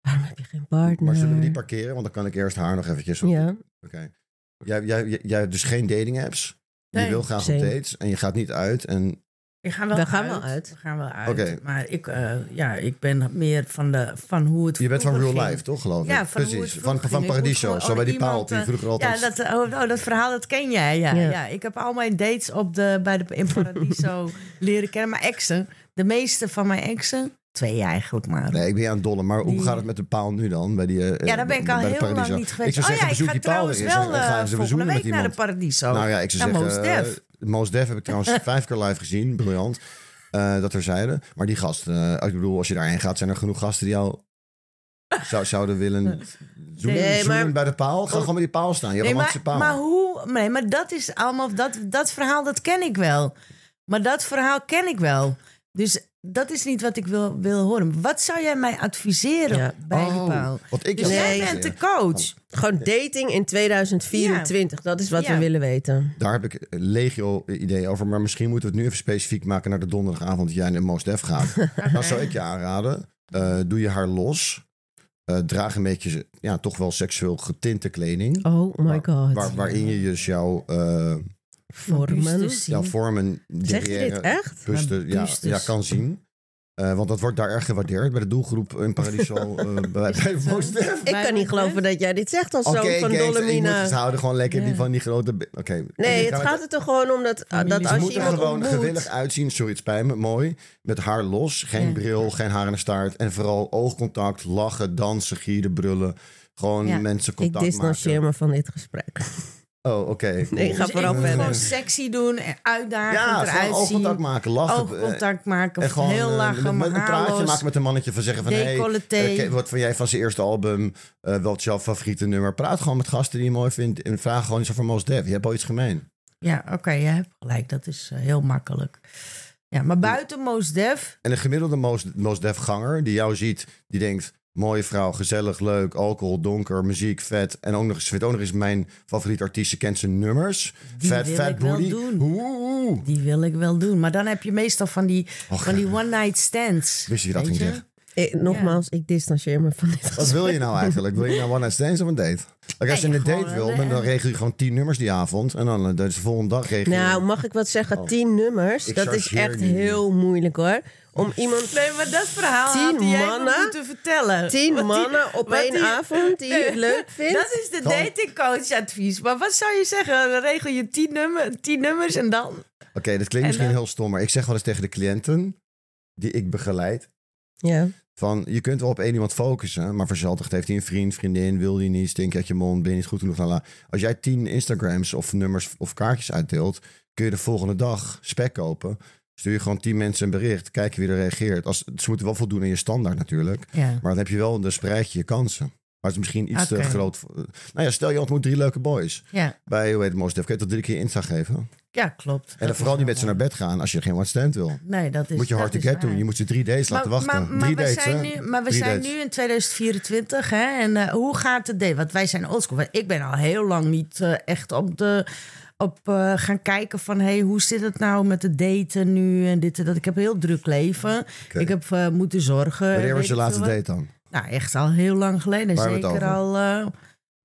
Speaker 2: waarom heb je geen partner?
Speaker 3: Maar zullen we die parkeren? Want dan kan ik eerst haar nog eventjes... op-
Speaker 2: Ja,
Speaker 3: Oké. Jij, jij, jij, jij hebt dus geen dating apps.
Speaker 1: Nee,
Speaker 3: je wil graag
Speaker 2: same.
Speaker 3: op dates en je gaat niet uit. En
Speaker 1: We gaan wel
Speaker 2: We
Speaker 1: uit.
Speaker 2: gaan wel uit.
Speaker 1: We gaan wel uit.
Speaker 3: Oké.
Speaker 1: Maar ik, eh, ja, ik ben meer van, de, van hoe het
Speaker 3: Je bent van
Speaker 1: vroeger
Speaker 3: real
Speaker 1: ging.
Speaker 3: life, toch geloof ik?
Speaker 1: Ja, van hoe het
Speaker 3: Precies. Van,
Speaker 1: vroeger
Speaker 3: van
Speaker 1: ging. Ik moet
Speaker 3: Paradiso,
Speaker 1: gewoon-
Speaker 3: zo bij die
Speaker 1: oh,
Speaker 3: paal
Speaker 1: iemand,
Speaker 3: die
Speaker 1: eh,
Speaker 3: vroeger altijd...
Speaker 1: Ja, dat, oh, oh, dat verhaal dat ken jij. Ja,
Speaker 2: Ja.
Speaker 1: ja. ik heb al mijn dates op de, bij de, in Paradiso leren kennen. Mijn exen, de meeste van mijn exen, twee eigenlijk maar.
Speaker 3: Nee, ik ben je aan het dollen, maar hoe
Speaker 1: Die-
Speaker 3: gaat het met de paal nu dan? Bij die, eh,
Speaker 1: Ja, daar ben ik
Speaker 3: bij
Speaker 1: al
Speaker 3: de
Speaker 1: heel lang
Speaker 3: Paradiso?
Speaker 1: niet geweest.
Speaker 3: Ik zou
Speaker 1: oh
Speaker 3: zeggen,
Speaker 1: ja, ik
Speaker 3: bezoek
Speaker 1: ga
Speaker 3: die paal
Speaker 1: trouwens
Speaker 3: er eens en
Speaker 1: wel
Speaker 3: dan
Speaker 1: eh,
Speaker 3: gaan ze
Speaker 1: volgende
Speaker 3: bezoeken met
Speaker 1: week naar de
Speaker 3: iemand.
Speaker 1: Paradiso.
Speaker 3: Nou ja, ik zou
Speaker 1: Naar
Speaker 3: zeggen,
Speaker 1: Mos
Speaker 3: eh,
Speaker 1: Oh. Def.
Speaker 3: Mos Def heb ik trouwens vijf keer live gezien, briljant. Eh, dat er zeiden. Maar die gasten, eh, ik bedoel, als je daarheen gaat, zijn er genoeg gasten die jou zou, zouden willen zoenen,
Speaker 2: Nee,
Speaker 3: zoenen
Speaker 2: maar-
Speaker 3: bij de paal. Ga gewoon bij die paal staan.
Speaker 1: Nee,
Speaker 3: Je
Speaker 1: maar,
Speaker 3: romantische paal.
Speaker 1: maar hoe? Nee, maar dat is allemaal. Dat, dat verhaal dat ken ik wel. Maar dat verhaal ken ik wel. Dus dat is niet wat ik wil, wil horen. Wat zou jij mij adviseren
Speaker 2: Ja.
Speaker 1: bij die
Speaker 3: Oh,
Speaker 1: paal?
Speaker 3: Wat ik
Speaker 1: Dus
Speaker 3: jou
Speaker 1: jij
Speaker 3: zou
Speaker 1: bent de
Speaker 3: zeggen.
Speaker 1: coach.
Speaker 2: Gewoon dating in 2024. Dat is wat
Speaker 1: Ja.
Speaker 2: we willen weten.
Speaker 3: Daar heb ik eh, legio ideeën over. Maar misschien moeten we het nu even specifiek maken naar de donderdagavond dat jij naar Mos Def gaat.
Speaker 2: nou,
Speaker 3: Dan zou ik je aanraden, eh, doe je haar los. Eh, draag een beetje ja, toch wel seksueel getinte kleding.
Speaker 2: Oh my god.
Speaker 3: Waar, waarin je dus jouw, eh,
Speaker 2: Vormen.
Speaker 1: Bustes zien.
Speaker 3: jouw vormen,
Speaker 2: Zeg je dit
Speaker 3: derrière,
Speaker 2: dus. echt?
Speaker 3: buste,
Speaker 1: Maar
Speaker 3: ja,
Speaker 1: bustes.
Speaker 3: ja, kan zien. Eh, want dat wordt daar erg gewaardeerd bij de doelgroep in Paradiso. eh, bij bij
Speaker 1: dat zo?
Speaker 3: Mos Def.
Speaker 2: Ik kan niet geloven dat jij dit zegt als
Speaker 3: Oké,
Speaker 2: zoon van
Speaker 3: gangs, ik moet
Speaker 2: Dolomina.
Speaker 3: het houden gewoon lekker die
Speaker 1: Ja.
Speaker 3: van die grote... be- Oké.
Speaker 2: Nee,
Speaker 3: Ik
Speaker 2: het
Speaker 3: ga
Speaker 2: gaat er toch gewoon om dat,
Speaker 1: Familie.
Speaker 2: dat
Speaker 1: Ze
Speaker 2: als je
Speaker 3: dus moet er
Speaker 2: iemand
Speaker 3: gewoon
Speaker 2: ontmoet...
Speaker 3: gewillig uitzien. Sorry, het spijt me. Mooi. Met haar los. Geen
Speaker 1: Ja.
Speaker 3: bril, geen haar in de staart. En vooral oogcontact, lachen, dansen, gieren, brullen. Gewoon
Speaker 1: Ja,
Speaker 3: mensen
Speaker 2: Ik
Speaker 3: contact
Speaker 2: distancieer
Speaker 3: maken.
Speaker 2: me van dit gesprek.
Speaker 3: Oh, oké.
Speaker 2: Nee, ga
Speaker 1: Dus
Speaker 2: vooral
Speaker 1: ik moet
Speaker 2: verder.
Speaker 1: gewoon sexy doen en uitdagend
Speaker 3: Ja,
Speaker 1: eruit
Speaker 3: gewoon oogcontact
Speaker 1: zien.
Speaker 3: maken, lachen. eh,
Speaker 1: Oogcontact maken,
Speaker 3: En gewoon
Speaker 1: heel
Speaker 3: eh,
Speaker 1: lachen,
Speaker 3: met-
Speaker 1: maar
Speaker 3: met een praatje maken met een mannetje van zeggen van... Hey,
Speaker 1: Decolleté.
Speaker 3: eh, ke- wat vind jij van zijn eerste album? Eh, wat is jouw favoriete nummer? Praat gewoon met gasten die je mooi vindt. En vraag gewoon iets over Mos Def. Je hebt al iets gemeen.
Speaker 1: Ja, oké, jij hebt gelijk. Dat is eh, heel makkelijk. Ja, maar buiten Mos Def
Speaker 3: En een gemiddelde Mos, Mos Def-ganger die jou ziet, die denkt... Mooie vrouw, gezellig, leuk, alcohol, donker, muziek, vet. En ook nog eens, ze vindt ook nog eens mijn favoriete artiest. Ze kent zijn nummers.
Speaker 1: Die
Speaker 3: vet,
Speaker 1: wil
Speaker 3: vet
Speaker 1: ik wel
Speaker 3: booty.
Speaker 1: doen.
Speaker 3: Oeh, oeh, oeh.
Speaker 1: Die wil ik wel doen. Maar dan heb je meestal van die,
Speaker 3: Och,
Speaker 1: van die one-night stands.
Speaker 3: Wist je dat
Speaker 1: Weet
Speaker 3: ging zeggen?
Speaker 2: Ik- nogmaals, ik distancieer me van dit
Speaker 3: Wat
Speaker 2: gesprek.
Speaker 3: wil je nou eigenlijk? Wil je nou one night stands of een date? Kijk, als je
Speaker 1: Nee,
Speaker 3: een
Speaker 1: gewoon
Speaker 3: date wil,
Speaker 1: een- eh,
Speaker 3: dan, dan regel je gewoon tien nummers die avond. En dan eh, dus de volgende dag regel je...
Speaker 2: Nou, mag ik wat zeggen?
Speaker 3: Oh.
Speaker 2: Tien nummers,
Speaker 3: Ik
Speaker 2: dat is
Speaker 3: chargeer
Speaker 2: echt
Speaker 3: jullie.
Speaker 2: heel moeilijk hoor. Om iemand...
Speaker 1: Nee, maar dat verhaal
Speaker 2: Tien
Speaker 1: had jij me
Speaker 2: mannen?
Speaker 1: moeten vertellen.
Speaker 2: Tien
Speaker 1: Wat die-
Speaker 2: mannen op
Speaker 1: wat
Speaker 2: één
Speaker 1: die-
Speaker 2: avond die je leuk vindt?
Speaker 1: Dat is de
Speaker 3: Gewoon-
Speaker 1: datingcoach advies. Maar wat zou je zeggen? Dan regel je tien, nummer, tien nummers en dan?
Speaker 3: Oké, dat klinkt misschien
Speaker 1: dan-
Speaker 3: heel stom, maar ik zeg wel eens tegen de cliënten die ik begeleid...
Speaker 2: Ja.
Speaker 3: Van, je kunt wel op één iemand focussen, maar verzaltigd heeft hij een vriend, vriendin, wil die niet, stink je uit je mond, ben je niet goed genoeg, lala. Als jij tien Instagrams of nummers of kaartjes uitdeelt, kun je de volgende dag spek kopen. Stuur je gewoon tien mensen een bericht, kijk wie er reageert. Als, ze moeten wel voldoen aan je standaard natuurlijk.
Speaker 1: Ja.
Speaker 3: Maar dan heb je wel, dan spreid je je kansen. Maar het is misschien iets
Speaker 1: Oké.
Speaker 3: te groot. voor- Nou ja, stel je ontmoet drie leuke boys.
Speaker 1: Ja,
Speaker 3: Bij, hoe heet het, Mos Def. Kun je dat drie keer Insta geven?
Speaker 1: ja klopt.
Speaker 3: en dan vooral die mensen naar bed gaan als je geen one stand wil.
Speaker 1: Nee, dat is
Speaker 3: moet je hard
Speaker 1: Dus dat
Speaker 3: to
Speaker 1: is
Speaker 3: get doen.
Speaker 1: waar.
Speaker 3: Je moet ze drie days laten wachten.
Speaker 1: Maar, maar
Speaker 3: drie
Speaker 1: we
Speaker 3: dates,
Speaker 1: zijn
Speaker 3: hè?
Speaker 1: nu, maar we
Speaker 3: Drie
Speaker 1: zijn
Speaker 3: dates.
Speaker 1: nu in 2024, hè? En eh, hoe gaat het date? Want wij zijn oldschool. Want Ik ben al heel lang niet eh, echt op de op eh, gaan kijken van hey, hoe zit het nou met het daten nu en dit en dat. Ik heb een heel druk leven.
Speaker 3: Oké.
Speaker 1: Ik heb eh, moeten zorgen.
Speaker 3: Wanneer
Speaker 1: weet
Speaker 3: was je
Speaker 1: ik
Speaker 3: laatste
Speaker 1: veel wat.
Speaker 3: date dan?
Speaker 1: Nou, echt al heel lang geleden.
Speaker 3: Waar hebben we
Speaker 1: Zeker
Speaker 3: het over?
Speaker 1: al, eh,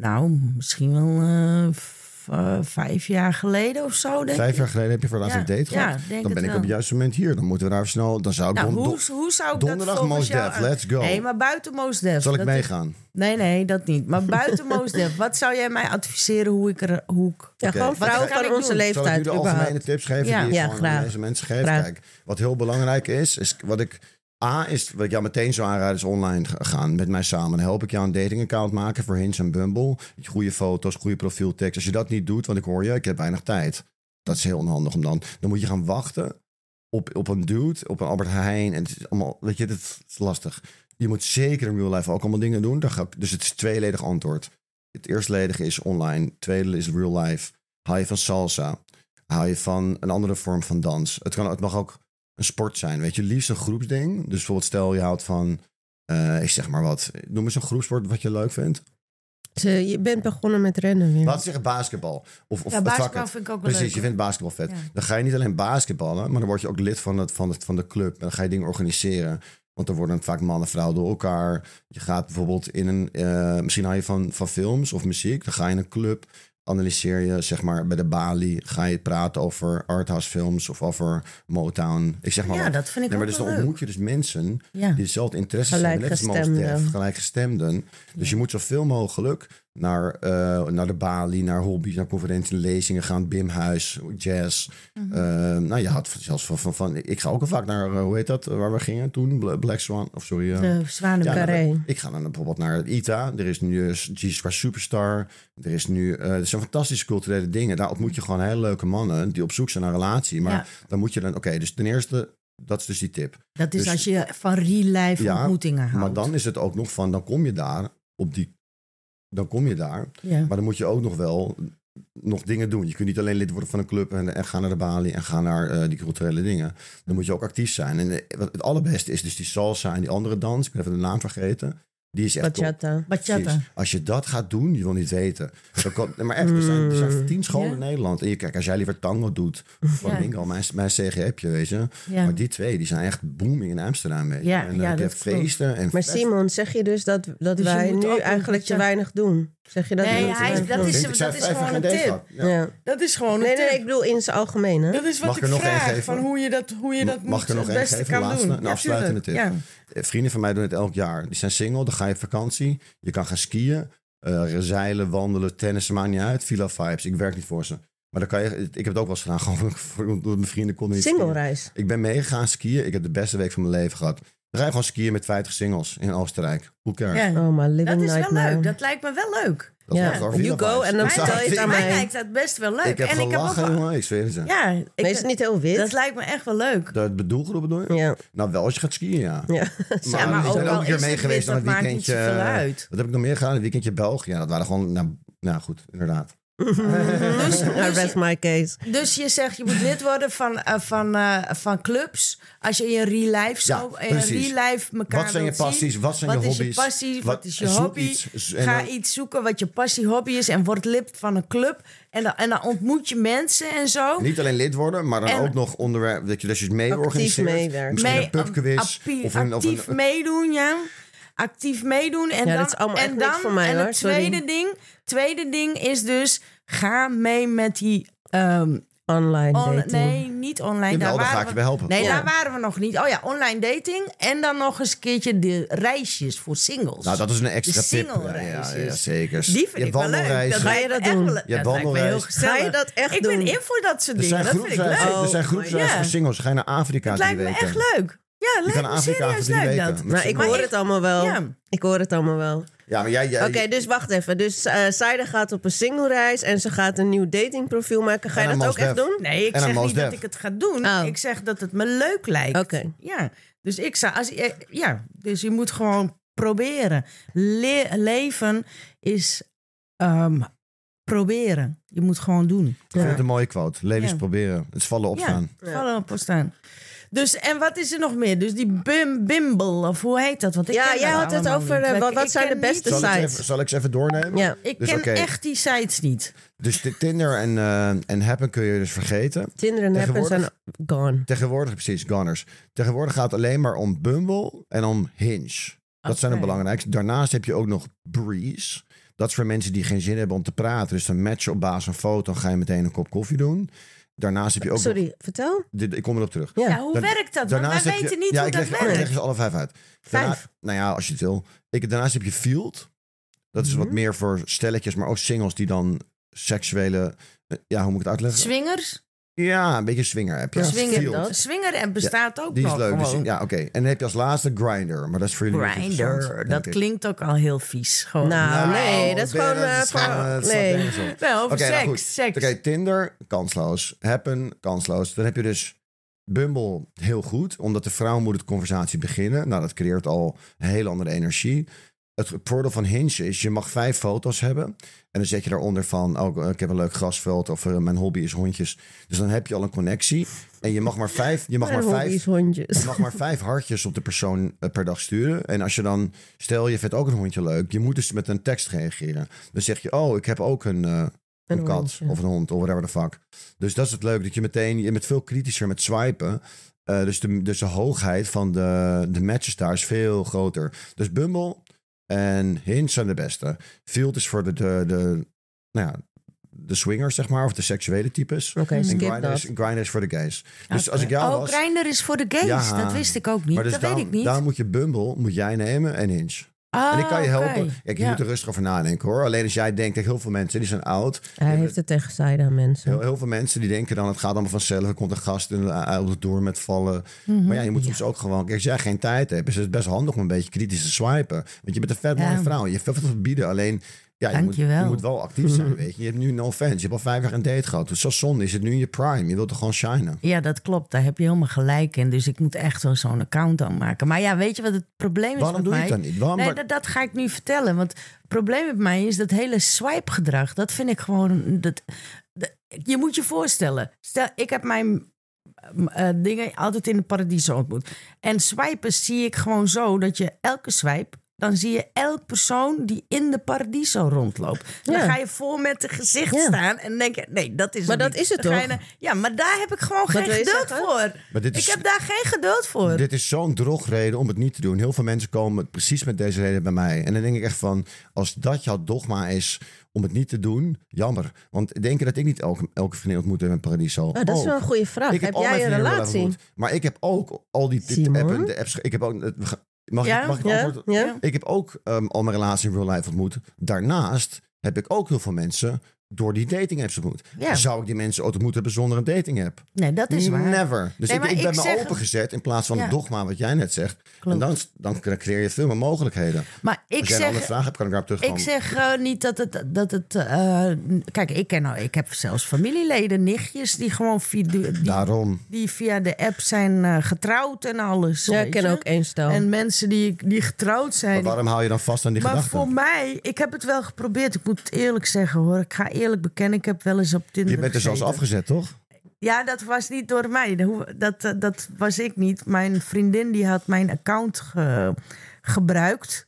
Speaker 1: nou, misschien wel eh, v- eh, vijf jaar geleden of zo. Denk
Speaker 3: Vijf
Speaker 1: ik.
Speaker 3: jaar geleden heb je voor laatst
Speaker 1: Ja,
Speaker 3: een date
Speaker 1: ja,
Speaker 3: gehad.
Speaker 1: denk het
Speaker 3: dan ben ik op
Speaker 1: wel.
Speaker 3: het juiste moment hier. Dan moeten we daar snel. Dan zou ik
Speaker 1: Nou,
Speaker 3: don-
Speaker 1: hoe,
Speaker 3: don-
Speaker 1: hoe zou ik dat
Speaker 3: donderdag
Speaker 1: volgens
Speaker 3: Mos
Speaker 1: jou...
Speaker 3: Def. Let's go.
Speaker 1: Nee, maar buiten Mos Def.
Speaker 3: Zal ik
Speaker 1: dat is-
Speaker 3: meegaan?
Speaker 1: Nee, nee, dat niet. Maar buiten Mos Def, wat zou jij mij adviseren hoe ik er... Hoe ik...
Speaker 2: Ja,
Speaker 3: Oké.
Speaker 2: gewoon
Speaker 3: Wat
Speaker 2: vrouwen
Speaker 1: kan
Speaker 2: van
Speaker 1: ik
Speaker 2: onze
Speaker 1: doen?
Speaker 3: Zal ik nu
Speaker 2: leeftijd
Speaker 3: de
Speaker 2: überhaupt.
Speaker 3: algemene tips geven
Speaker 1: Ja.
Speaker 3: die je
Speaker 2: Ja,
Speaker 3: gewoon
Speaker 2: graag.
Speaker 3: aan deze mensen geeft?
Speaker 2: Graag.
Speaker 3: Kijk, wat heel belangrijk is, is wat ik... A is, wat ik jou meteen zou aanraden, is online g- gaan met mij samen. Dan help ik jou een datingaccount maken voor Hinge en Bumble. Goede foto's, goede profieltekst. Als je dat niet doet, want ik hoor je, ik heb weinig tijd. Dat is heel onhandig om dan... Dan moet je gaan wachten op, op een dude, op een Albert Heijn. En het is allemaal, weet je, het is lastig. Je moet zeker in real life ook allemaal dingen doen. Daar ga ik- dus het is tweeledig antwoord. Het eerstledige is online, het tweede is real life. Hou je van salsa? Hou je van een andere vorm van dans? Het, kan, het mag ook een sport zijn, weet je. Liefst een groepsding. Dus bijvoorbeeld stel je houdt van, eh, ik zeg maar wat. Noem eens een groepsport wat je leuk vindt.
Speaker 2: Ze- Je bent begonnen met rennen weer.
Speaker 3: Laten we zeggen basketbal. Of, of
Speaker 1: ja,
Speaker 3: het
Speaker 1: basketbal
Speaker 3: vakken.
Speaker 1: vind ik ook wel
Speaker 3: Precies, je
Speaker 1: leuk.
Speaker 3: vindt basketbal vet.
Speaker 1: Ja.
Speaker 3: Dan ga je niet alleen basketballen, maar dan word je ook lid van, het, van, het, van de club. En dan ga je dingen organiseren. Want dan worden vaak mannen en vrouwen door elkaar. Je gaat bijvoorbeeld in een. eh, misschien hou je van, van films of muziek. Dan ga je in een club. analyseer je, zeg maar, bij de Bali, ga je praten over arthouse films of over Motown. Ik zeg maar
Speaker 1: Ja,
Speaker 3: wat.
Speaker 1: dat vind ik
Speaker 3: Nee, maar
Speaker 1: ook
Speaker 3: dus
Speaker 1: wel
Speaker 3: dan
Speaker 1: leuk.
Speaker 3: ontmoet je dus mensen
Speaker 1: Ja.
Speaker 3: die dezelfde interesses hebben, net als Mos
Speaker 2: Gelijkgestemden.
Speaker 3: Def, gelijkgestemden. Dus je moet zoveel mogelijk naar, eh, naar de Bali, naar hobby's, naar conferenties, lezingen gaan, Bimhuis, jazz. Eh, nou, je had zelfs van, van, van, ik ga ook al vaak naar, eh, hoe heet dat, eh, waar we gingen toen, Bla- Black Swan, of sorry. eh,
Speaker 1: De
Speaker 3: ja,
Speaker 1: Zwanenkarré.
Speaker 2: Carré.
Speaker 3: nou, ik ga dan bijvoorbeeld naar ITA. Er is nu eh, Jesus Christ Superstar. Er is nu, eh, er zijn fantastische culturele dingen. Daar ontmoet je gewoon hele leuke mannen die op zoek zijn naar een relatie. Maar
Speaker 1: Ja.
Speaker 3: dan moet je dan, oké, dus ten eerste, dat is dus die tip.
Speaker 1: dat is
Speaker 3: dus-
Speaker 1: als je van real-life
Speaker 3: Ja,
Speaker 1: ontmoetingen houdt.
Speaker 3: Maar dan is het ook nog van, dan kom je daar op die, dan kom je daar.
Speaker 1: ja.
Speaker 3: Maar dan moet je ook nog wel nog dingen doen. Je kunt niet alleen lid worden van een club en, en gaan naar de balie en gaan naar eh, die culturele dingen. Dan moet je ook actief zijn. En eh, wat het allerbeste is dus die salsa en die andere dans. Ik ben even de naam vergeten. Die is echt top.
Speaker 2: Bachata.
Speaker 1: Bachata.
Speaker 3: Precies. Als je dat gaat doen, je wil niet weten. Dan kan- nee, maar echt, er zijn, er zijn tien scholen
Speaker 1: Mm. Ja.
Speaker 3: in Nederland. En je kijkt, als jij liever tango doet, of
Speaker 1: Ja.
Speaker 3: flamingo, mijn, mijn CG heb je, weet je.
Speaker 1: Ja.
Speaker 3: Maar die twee, die zijn echt booming in Amsterdam, weet je.
Speaker 1: Ja,
Speaker 3: en dan
Speaker 1: ja,
Speaker 3: heb je
Speaker 1: dat klopt.
Speaker 3: feesten en
Speaker 2: Maar
Speaker 3: festen.
Speaker 2: Simon, zeg je dus dat, dat
Speaker 1: Dus je
Speaker 2: wij
Speaker 1: moet ook
Speaker 2: nu
Speaker 1: een
Speaker 2: eigenlijk te
Speaker 1: beetje-
Speaker 2: weinig doen? Zeg je dat?
Speaker 1: Nee,
Speaker 2: we te
Speaker 1: hij-
Speaker 2: weinig
Speaker 1: dat
Speaker 2: doen?
Speaker 1: is-
Speaker 3: Ik zei
Speaker 1: dat is
Speaker 3: vijf
Speaker 1: gewoon
Speaker 3: en
Speaker 1: een
Speaker 3: deze
Speaker 1: tip.
Speaker 3: had. Ja.
Speaker 2: Ja.
Speaker 1: Dat is gewoon een
Speaker 2: Nee,
Speaker 1: tip.
Speaker 2: nee, ik bedoel in zijn algemeen, hè?
Speaker 1: Dat is wat
Speaker 3: Mag
Speaker 1: ik
Speaker 3: ik er nog één
Speaker 1: vraag,
Speaker 3: geven?
Speaker 1: van hoe je dat, hoe je dat
Speaker 3: Mag ik
Speaker 1: moet,
Speaker 3: er nog
Speaker 1: het
Speaker 3: één
Speaker 1: beste
Speaker 3: geven?
Speaker 1: kan
Speaker 3: Laatste,
Speaker 1: doen.
Speaker 3: een
Speaker 1: Ja,
Speaker 3: afsluitende
Speaker 1: tuurlijk.
Speaker 3: tip.
Speaker 1: Ja.
Speaker 3: Eh, Vrienden van mij doen het elk jaar. Die zijn single, dan ga je op vakantie. Je kan gaan skiën, eh, zeilen, wandelen, tennissen, maakt niet uit. Villa vibes, ik werk niet voor ze. Maar dan kan je, ik heb het ook wel eens gedaan, gewoon voor, omdat mijn vrienden konden niet
Speaker 2: Single
Speaker 3: skiën.
Speaker 2: reis.
Speaker 3: Ik ben meegegaan skiën. Ik heb de beste week van mijn leven gehad. Dan ga je gewoon skiën met 50 singles in Oostenrijk. Hoe cares?
Speaker 1: Ja.
Speaker 2: Oh, maar living
Speaker 1: Dat is wel
Speaker 2: nightmare.
Speaker 1: leuk. Dat lijkt me wel leuk.
Speaker 3: Dat
Speaker 2: Ja.
Speaker 3: was wel
Speaker 2: You
Speaker 3: Villa
Speaker 2: go
Speaker 3: vibes.
Speaker 2: en dan
Speaker 3: Ik zag
Speaker 2: vertel je het aan
Speaker 3: Ik-
Speaker 1: Mij
Speaker 2: mij.
Speaker 1: lijkt dat best wel leuk.
Speaker 3: Ik heb
Speaker 1: en ik heb ook
Speaker 3: gelachen,
Speaker 1: wel-
Speaker 3: jongen. Ik zweer het je.
Speaker 1: Ja, ik-
Speaker 2: Maar is het niet heel wit?
Speaker 1: dat lijkt me echt wel leuk.
Speaker 3: Dat bedoelgroep bedoel je?
Speaker 2: Ja.
Speaker 3: Nou, wel als je gaat skiën, ja.
Speaker 2: ja.
Speaker 1: Ja, maar
Speaker 3: ik
Speaker 1: ook
Speaker 3: ben
Speaker 1: al
Speaker 3: ook een keer
Speaker 1: is
Speaker 3: mee
Speaker 1: het
Speaker 3: geweest
Speaker 1: wit,
Speaker 3: aan een
Speaker 1: dat maakt niet
Speaker 3: weekendje.
Speaker 1: zoveel uit.
Speaker 3: Wat heb ik nog meer gedaan? Een weekendje België. Ja, dat waren gewoon... Nou, nou goed, inderdaad.
Speaker 1: Dus,
Speaker 2: I
Speaker 1: dus,
Speaker 2: rest my case.
Speaker 1: dus je zegt, je moet lid worden van, eh, van, eh, van clubs. Als je in je real life
Speaker 3: Ja,
Speaker 1: show, in
Speaker 3: precies.
Speaker 1: real life elkaar
Speaker 3: Wat zijn je
Speaker 1: wilt zien.
Speaker 3: passies? Wat zijn je
Speaker 1: Wat is je
Speaker 3: hobby's?
Speaker 1: passie? Wat, is je
Speaker 3: zoek
Speaker 1: hobby?
Speaker 3: iets. En
Speaker 1: Ga
Speaker 3: dan-
Speaker 1: iets zoeken wat je passie, hobby is en word lid van een club. En dan, en dan ontmoet je mensen en zo.
Speaker 3: Niet alleen lid worden, maar dan
Speaker 1: En-
Speaker 3: ook nog onderwerp. Dat je dus mee
Speaker 2: Actief
Speaker 3: organiseert.
Speaker 2: meewerken.
Speaker 3: Misschien
Speaker 1: Mee-
Speaker 3: een pubquiz.
Speaker 1: actief-
Speaker 3: Of een, of een,
Speaker 1: actief meedoen, ja. Actief meedoen. En
Speaker 2: Ja,
Speaker 1: dan,
Speaker 2: dat is allemaal
Speaker 1: en
Speaker 2: echt niks
Speaker 1: dan,
Speaker 2: voor mij,
Speaker 1: En
Speaker 2: hoor.
Speaker 1: het
Speaker 2: Sorry.
Speaker 1: tweede ding, tweede ding is dus, ga mee met die... ehm,
Speaker 2: Online
Speaker 1: on-
Speaker 2: dating.
Speaker 1: nee, niet online.
Speaker 3: Jawel, daar ga ik
Speaker 1: waren
Speaker 3: je
Speaker 1: we,
Speaker 3: bij helpen.
Speaker 1: Nee,
Speaker 3: Ja.
Speaker 1: daar waren we nog niet. Oh ja, online dating. En dan nog eens een keertje de reisjes voor singles.
Speaker 3: Nou, dat is een extra
Speaker 1: De
Speaker 3: tip. Ja, ja,
Speaker 1: single-reisjes.
Speaker 3: ja, zeker.
Speaker 1: Die vind
Speaker 3: je
Speaker 1: ik wel leuk.
Speaker 3: wandelreizen.
Speaker 2: Ga je
Speaker 1: lijkt me
Speaker 2: dat
Speaker 1: echt
Speaker 2: doen?
Speaker 1: wel leuk.
Speaker 3: Je
Speaker 1: Ja, dat lijkt me
Speaker 3: wandelreis.
Speaker 1: heel gezellig.
Speaker 2: Ga je dat echt
Speaker 1: ik
Speaker 2: doen?
Speaker 1: ben in voor dat soort
Speaker 3: Er
Speaker 1: dingen.
Speaker 3: zijn
Speaker 1: Dat vind ik leuk.
Speaker 3: groepsreizen, er zijn
Speaker 2: Oh,
Speaker 3: groepsreizen
Speaker 1: ja.
Speaker 3: voor singles. Ga je naar Afrika
Speaker 1: Het
Speaker 3: drie
Speaker 1: lijkt me
Speaker 3: weken.
Speaker 1: echt leuk. Ja,
Speaker 3: Je
Speaker 1: lijkt
Speaker 3: kan
Speaker 1: me
Speaker 3: naar Afrika voor
Speaker 1: serieus
Speaker 3: drie
Speaker 1: leuk
Speaker 3: weken.
Speaker 1: dat.
Speaker 3: Met
Speaker 2: Nou,
Speaker 3: z'n
Speaker 2: ik
Speaker 3: allen.
Speaker 2: hoor het allemaal wel.
Speaker 1: Ja.
Speaker 2: Ik hoor het allemaal wel.
Speaker 3: Ja, maar jij... jij
Speaker 2: Oké, dus wacht even. Dus eh Saida gaat op een single reis en ze gaat een nieuw datingprofiel maken. Ga
Speaker 3: En
Speaker 2: je
Speaker 3: een
Speaker 2: dat ook
Speaker 3: Mos
Speaker 2: echt
Speaker 3: Def.
Speaker 2: doen?
Speaker 1: Nee, ik
Speaker 3: En aan
Speaker 1: zeg
Speaker 3: Mos
Speaker 1: niet dat
Speaker 3: Def.
Speaker 1: ik het ga doen.
Speaker 2: Oh.
Speaker 1: Ik zeg dat het me leuk lijkt.
Speaker 2: Oké.
Speaker 1: Ja, dus ik zou... Als, eh, ja, dus je moet gewoon proberen. Le- leven is ehm, proberen. Je moet gewoon doen.
Speaker 3: Ik vind het een mooie quote. Leven
Speaker 1: Ja.
Speaker 3: is proberen. Het is vallen opstaan.
Speaker 1: Ja, vallen op staan. Dus, en wat is er nog meer? Dus die bim, bimble, of hoe heet dat? Want ik
Speaker 2: Ja,
Speaker 1: ken
Speaker 2: jij
Speaker 1: dat
Speaker 2: had het
Speaker 1: allemaal
Speaker 2: over,
Speaker 1: niet.
Speaker 2: eh, wat-
Speaker 1: Ik-
Speaker 2: wat
Speaker 1: ik
Speaker 2: zijn
Speaker 1: ken
Speaker 2: de beste
Speaker 1: niet-
Speaker 3: Zal, ik
Speaker 2: Sites.
Speaker 3: het even, zal ik ze even doornemen?
Speaker 2: Ja.
Speaker 1: Ik
Speaker 3: Dus
Speaker 1: ken
Speaker 3: oké.
Speaker 1: echt die sites niet.
Speaker 3: Dus de Tinder en, eh, en Happen kun je dus vergeten.
Speaker 2: Tinder en Happen zijn
Speaker 3: Tegenwoordig-
Speaker 2: gone.
Speaker 3: Tegenwoordig, precies, goners. Tegenwoordig gaat het alleen maar om Bumble en om Hinge. Dat zijn de
Speaker 1: Oké.
Speaker 3: belangrijkste. Daarnaast heb je ook nog Breeze. Dat is voor mensen die geen zin hebben om te praten. Dus dan match je op basis van foto. Dan ga je meteen een kop koffie doen. Daarnaast heb je ook... nog-
Speaker 2: Sorry, vertel?
Speaker 3: dit, ik kom erop terug.
Speaker 1: Ja, hoe
Speaker 3: Dan-
Speaker 1: werkt dat? Want wij
Speaker 3: heb je-
Speaker 1: weten niet
Speaker 3: ja,
Speaker 1: hoe
Speaker 3: ik
Speaker 1: dat
Speaker 3: leg, oh,
Speaker 1: werkt.
Speaker 3: Ik leg ze alle vijf uit. Daarna-
Speaker 2: Vijf.
Speaker 3: nou ja, als je het wil. Ik, daarnaast heb je Field. Dat is
Speaker 1: Mhm.
Speaker 3: wat meer voor stelletjes, maar ook singles die dan seksuele... eh, Ja, hoe moet ik het uitleggen?
Speaker 1: Swingers?
Speaker 3: ja, een beetje swinger heb je.
Speaker 2: Ja,
Speaker 1: Swinger,
Speaker 3: Field.
Speaker 2: dat.
Speaker 1: Swinger en bestaat ook
Speaker 3: Die is
Speaker 2: Oh,
Speaker 1: nog
Speaker 3: leuk. Dus,
Speaker 1: gewoon.
Speaker 3: ja, oké. En dan heb je als laatste Grinder. Maar dat is voor jullie niet interessant,
Speaker 1: Grinder,
Speaker 3: denk
Speaker 1: dat
Speaker 3: ik.
Speaker 1: klinkt ook al heel vies. Gewoon.
Speaker 2: Nou, nee,
Speaker 3: Nou,
Speaker 2: dat is gewoon...
Speaker 3: dat
Speaker 2: eh,
Speaker 3: is
Speaker 2: voor-
Speaker 3: gewoon, eh, dat staat
Speaker 2: nee.
Speaker 3: nergens op.
Speaker 1: Wel, over
Speaker 3: Oké, nou
Speaker 1: seks.
Speaker 3: goed.
Speaker 1: seks.
Speaker 3: Oké, Tinder, kansloos. Happen, kansloos. Dan heb je dus Bumble, heel goed. Omdat de vrouw moet de conversatie beginnen. Nou, dat creëert al een hele andere energie. Het voordeel van Hinge is, je mag vijf foto's hebben. En dan zet je daaronder van, oh, ik heb een leuk grasveld. Of eh, mijn hobby is hondjes. Dus dan heb je al een connectie. En je mag maar vijf, je mag maar
Speaker 2: Mijn hobby is
Speaker 3: vijf je
Speaker 2: hondjes.
Speaker 3: mag maar vijf hartjes op de persoon eh, per dag sturen. En als je dan, stel je vindt ook een hondje leuk, je moet dus met een tekst reageren. Dan zeg je, oh, ik heb ook een, eh, een, kat
Speaker 2: hondje.
Speaker 3: of een hond of whatever the fuck. Dus dat is het leuk dat je meteen, je bent veel kritischer met swipen. Eh, dus, de, dus de hoogheid van de, de matches daar is veel groter. Dus Bumble en Hinge zijn de beste. Field is voor de, de, de nou ja, de swingers, zeg maar, of de seksuele types.
Speaker 2: Oké,
Speaker 3: En
Speaker 2: skip
Speaker 3: grinders,
Speaker 2: dat.
Speaker 3: grinders voor de gays. Dus als ik jou
Speaker 1: oh,
Speaker 3: was...
Speaker 1: Grindr is voor de gays.
Speaker 3: Ja.
Speaker 1: Dat wist ik ook niet.
Speaker 3: dus
Speaker 1: dat
Speaker 3: daarom,
Speaker 1: weet ik niet.
Speaker 3: daarom moet je Bumble moet jij nemen en Hinge.
Speaker 1: Ah,
Speaker 3: en ik kan je
Speaker 1: oké.
Speaker 3: helpen. Kijk, je
Speaker 1: Ja.
Speaker 3: moet er rustig over nadenken hoor. Alleen als jij denkt, kijk, heel veel mensen die zijn oud.
Speaker 2: Hij heeft het tegen Saida, mensen.
Speaker 3: Heel, heel veel mensen die denken dan, het gaat allemaal vanzelf. Er komt een gast en eh, op de door met vallen.
Speaker 1: Mhm,
Speaker 3: Maar ja, je moet soms ook gewoon... Kijk, als jij geen tijd hebt, is het best handig om een beetje kritisch te swipen. Want je bent een vet mooie
Speaker 1: Ja.
Speaker 3: vrouw. Je hebt veel te bieden. Alleen, ja, je
Speaker 1: Dank
Speaker 3: moet,
Speaker 1: je wel.
Speaker 3: je moet wel actief zijn, weet je. Je hebt nu no fans. Je hebt al vijf jaar een date gehad. Dus zoals zonde is het nu in je prime. Je wilt er gewoon shinen.
Speaker 1: Ja, dat klopt. Daar heb je helemaal gelijk in. Dus ik moet echt wel zo'n account aanmaken. Maar ja, weet je wat het probleem is
Speaker 3: Waarom
Speaker 1: met
Speaker 3: doe je
Speaker 1: mij?
Speaker 3: het dan niet? Waarom
Speaker 1: nee,
Speaker 3: maak-
Speaker 1: dat, dat ga ik nu vertellen. Want het probleem met mij is dat hele swipe-gedrag. Dat vind ik gewoon... Dat, dat- je moet je voorstellen. Stel, ik heb mijn eh, dingen altijd in de paradiso ontmoet. En swipen zie ik gewoon zo dat je elke swipe... Dan zie je elk persoon die in de paradiso rondloopt. Dan
Speaker 2: Ja.
Speaker 1: ga je vol met het gezicht
Speaker 2: Ja.
Speaker 1: staan en denk je... Nee, dat is
Speaker 2: Maar
Speaker 1: het
Speaker 2: dat
Speaker 1: niet.
Speaker 2: is het
Speaker 1: Dan ga je
Speaker 2: toch?
Speaker 1: naar- ja, maar daar heb ik gewoon geen
Speaker 2: wil je
Speaker 1: geduld
Speaker 2: zeggen?
Speaker 1: voor.
Speaker 3: Maar dit is-
Speaker 1: Ik heb daar geen geduld
Speaker 2: Eh,
Speaker 1: voor.
Speaker 3: Dit is zo'n drogreden om het niet te doen. Heel veel mensen komen precies met deze reden bij mij. En dan denk ik echt van, als dat jouw dogma is om het niet te doen, jammer. Want denken dat ik niet elke, elke vriendin ontmoet heb in Paradiso.
Speaker 2: Oh, dat is
Speaker 3: Oh,
Speaker 2: wel een goede vraag.
Speaker 3: ik
Speaker 2: heb
Speaker 3: al mijn
Speaker 2: jij een
Speaker 3: vriendinnen wel
Speaker 2: relatie?
Speaker 3: ontmoet. Maar ik heb ook al die dit-
Speaker 2: Simon?
Speaker 3: app en de apps. ge- Ik heb ook, het- mag,
Speaker 1: Ja?
Speaker 3: ik, mag ik
Speaker 2: Ja?
Speaker 3: antwoorden?
Speaker 2: ja?
Speaker 3: Ik heb ook ehm, al mijn relatie in real life ontmoet. Daarnaast heb ik ook heel veel mensen door die dating apps ontmoet.
Speaker 1: Ja.
Speaker 3: Zou ik die mensen ooit ontmoet hebben zonder een dating app?
Speaker 1: Nee, dat is waar.
Speaker 3: Never. Dus
Speaker 1: Nee,
Speaker 3: ik,
Speaker 1: maar
Speaker 3: ik ben
Speaker 1: ik
Speaker 3: me
Speaker 1: zeg-
Speaker 3: opengezet in plaats van
Speaker 1: Ja.
Speaker 3: het dogma wat jij net zegt.
Speaker 1: Klopt.
Speaker 3: En dan, dan creëer je veel meer mogelijkheden.
Speaker 1: Maar ik
Speaker 3: Als jij een andere
Speaker 1: zeg,
Speaker 3: vraag hebt, kan ik daarop
Speaker 1: ik
Speaker 3: terugkomen.
Speaker 1: zeg eh, niet dat het... Dat het eh, kijk, ik, ken, al- ik heb zelfs familieleden, nichtjes... die gewoon via, die,
Speaker 3: Daarom.
Speaker 1: die via de app zijn eh, getrouwd en alles.
Speaker 2: Ja, ik
Speaker 1: weet
Speaker 2: ken
Speaker 1: je?
Speaker 2: ook één stel.
Speaker 1: En mensen die, die getrouwd zijn...
Speaker 3: Maar waarom hou je dan vast aan die
Speaker 1: Maar
Speaker 3: gedachten?
Speaker 1: voor mij, ik heb het wel geprobeerd. Ik moet het eerlijk zeggen hoor. Ik ga eerlijk bekennen, ik heb wel eens op Tinder
Speaker 3: Je bent dus er zelfs
Speaker 1: gezeten.
Speaker 3: afgezet, toch?
Speaker 1: Ja, dat was niet door mij. Dat hoe- Dat, eh, dat was ik niet. Mijn vriendin die had mijn account ge- gebruikt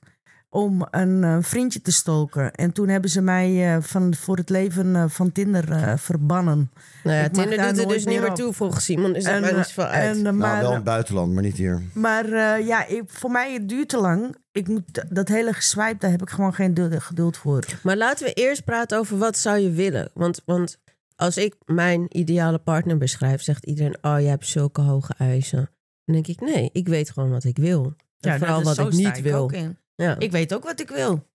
Speaker 1: om een eh, vriendje te stalken. En toen hebben ze mij eh, van, voor het leven eh, van Tinder eh, verbannen.
Speaker 2: nou ja,
Speaker 1: ik mag
Speaker 2: Tinder
Speaker 1: daar
Speaker 2: doet er
Speaker 1: nooit
Speaker 2: dus niet
Speaker 1: meer
Speaker 2: meer
Speaker 1: op.
Speaker 2: toe volgens Simon. Dus dat
Speaker 1: En,
Speaker 2: maakt
Speaker 1: eh,
Speaker 2: niet zoveel uit.
Speaker 1: en, eh, maar
Speaker 3: nou, wel in het buitenland, maar niet hier.
Speaker 1: maar eh, ja, ik, voor mij het duurt te lang. Ik moet, dat hele geswipe, daar heb ik gewoon geen du- geduld voor.
Speaker 2: Maar laten we eerst praten over wat zou je willen. Want, want als ik mijn ideale partner beschrijf, zegt iedereen... oh, je hebt zulke hoge eisen. Dan denk ik, nee, ik weet gewoon wat ik wil. En vooral
Speaker 3: nou, dus
Speaker 2: wat nou, ik niet wil. Ja.
Speaker 1: Ik weet ook wat ik wil.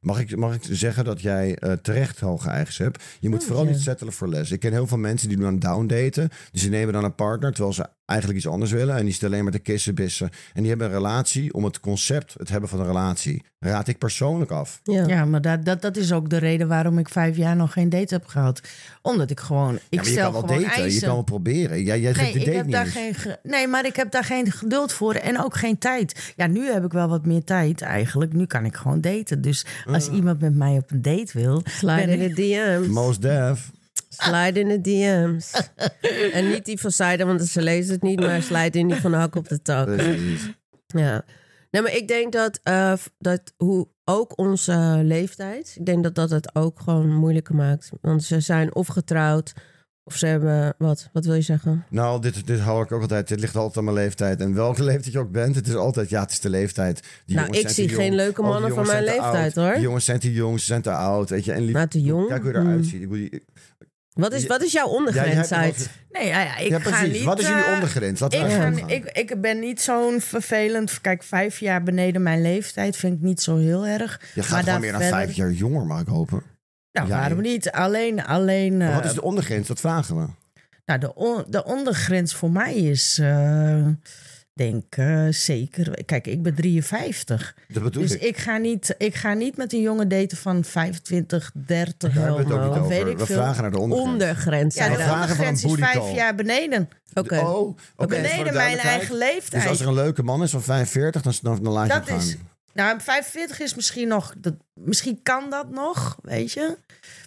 Speaker 3: Mag ik, mag ik zeggen dat jij eh, terecht hoge eisen hebt? Je moet
Speaker 2: Oh,
Speaker 3: vooral
Speaker 2: ja.
Speaker 3: niet settelen voor les. Ik ken heel veel mensen die doen aan downdaten. Dus die nemen dan een partner terwijl ze eigenlijk iets anders willen. En die zitten alleen maar te kissen, bissen. En die hebben een relatie om het concept, het hebben van een relatie. Raad ik persoonlijk af.
Speaker 2: ja.
Speaker 1: Ja, maar dat, dat, dat is ook de reden waarom ik vijf jaar nog geen date heb gehad. Omdat ik gewoon. Ik
Speaker 3: Ja, maar je
Speaker 1: stel
Speaker 3: kan wel
Speaker 1: gewoon
Speaker 3: daten, je
Speaker 1: eisen.
Speaker 3: kan wel proberen. Jij, jij
Speaker 1: Nee,
Speaker 3: zegt de
Speaker 1: ik
Speaker 3: date
Speaker 1: heb
Speaker 3: niet
Speaker 1: daar
Speaker 3: eens.
Speaker 1: geen ge- nee, maar ik heb daar geen geduld voor en ook geen tijd. Ja, nu heb ik wel wat meer tijd eigenlijk. Nu kan ik gewoon daten. Dus als
Speaker 3: Ah.
Speaker 1: iemand met mij op een date wil...
Speaker 2: Slide
Speaker 1: ben
Speaker 2: in
Speaker 1: ik-
Speaker 2: de DM's.
Speaker 3: Most Def.
Speaker 2: Slide in de DM's. en niet die van Saida, want ze lezen het niet. Maar slide in die van Hak op de tak.
Speaker 3: Precies.
Speaker 2: Ja. Nee, maar ik denk dat, eh, f- dat hoe ook onze leeftijd, ik denk dat dat het ook gewoon moeilijker maakt. Want ze zijn of getrouwd, of ze hebben, wat, wat wil je zeggen?
Speaker 3: Nou, dit, dit hou ik ook altijd. Dit ligt altijd aan mijn leeftijd. En welke leeftijd je ook bent, het is altijd, ja, het is de leeftijd. Die
Speaker 2: Nou,
Speaker 3: jongens
Speaker 2: ik
Speaker 3: zijn
Speaker 2: zie
Speaker 3: te
Speaker 2: geen
Speaker 3: jong.
Speaker 2: leuke
Speaker 3: Oh, die
Speaker 2: mannen
Speaker 3: jongens
Speaker 2: van mijn
Speaker 3: zijn te
Speaker 2: leeftijd,
Speaker 3: oud.
Speaker 2: hoor.
Speaker 3: Die jongens zijn te jong, ze zijn te oud. Weet je, en lief-
Speaker 2: Nou, te jong.
Speaker 3: Kijk hoe je
Speaker 2: Hmm.
Speaker 1: Mm.
Speaker 3: eruit ziet. Ik bedoel, je-
Speaker 2: Wat is,
Speaker 3: Je-
Speaker 2: wat is jouw
Speaker 3: jij- jij hebt
Speaker 2: ondergrens
Speaker 3: wel
Speaker 2: uit?
Speaker 3: eens-
Speaker 1: Nee, ja, ja, ik
Speaker 3: ja,
Speaker 1: ga
Speaker 3: precies.
Speaker 1: niet...
Speaker 3: Wat is jullie
Speaker 1: eh,
Speaker 3: ondergrens? Laten we
Speaker 1: ik,
Speaker 3: daarvan
Speaker 1: ga-
Speaker 3: gaan.
Speaker 1: ik, ik ben niet zo'n vervelend... Kijk, vijf jaar beneden mijn leeftijd vind ik niet zo heel erg.
Speaker 3: je
Speaker 1: maar
Speaker 3: gaat gewoon
Speaker 1: daar
Speaker 3: weer naar
Speaker 1: verder-
Speaker 3: vijf jaar jonger, mag ik hopen.
Speaker 1: Nou,
Speaker 3: Ja,
Speaker 1: waarom
Speaker 3: ja.
Speaker 1: niet? Alleen... alleen
Speaker 3: Maar
Speaker 1: eh,
Speaker 3: wat is de ondergrens? Dat vragen we.
Speaker 1: Nou, de, on- de ondergrens voor mij is... eh, denk eh, zeker... Kijk, ik ben 53.
Speaker 3: Dat bedoel
Speaker 1: Dus
Speaker 3: ik.
Speaker 1: ik ga, niet, ik ga niet met een jongen daten van 25, 30.
Speaker 3: Daar hebben we het ook
Speaker 2: Oh,
Speaker 3: niet
Speaker 1: weet
Speaker 3: over.
Speaker 1: ik
Speaker 3: We
Speaker 1: veel.
Speaker 3: vragen naar de ondergrens.
Speaker 2: Ondergrens.
Speaker 1: Ja,
Speaker 3: we
Speaker 1: de
Speaker 2: Saida.
Speaker 3: vragen van een
Speaker 1: grens is
Speaker 3: booty
Speaker 1: vijf
Speaker 3: call.
Speaker 1: jaar beneden.
Speaker 2: Oké.
Speaker 3: Oh, oké, voor de
Speaker 1: beneden mijn
Speaker 3: duidelijkheid.
Speaker 1: eigen
Speaker 3: Dus als
Speaker 1: leeftijd.
Speaker 3: er een leuke man is van 45, dan, dan, dan laat je
Speaker 1: dat
Speaker 3: hem gaan.
Speaker 1: is. Nou, 45 is misschien nog. Dat, misschien kan dat nog, weet je.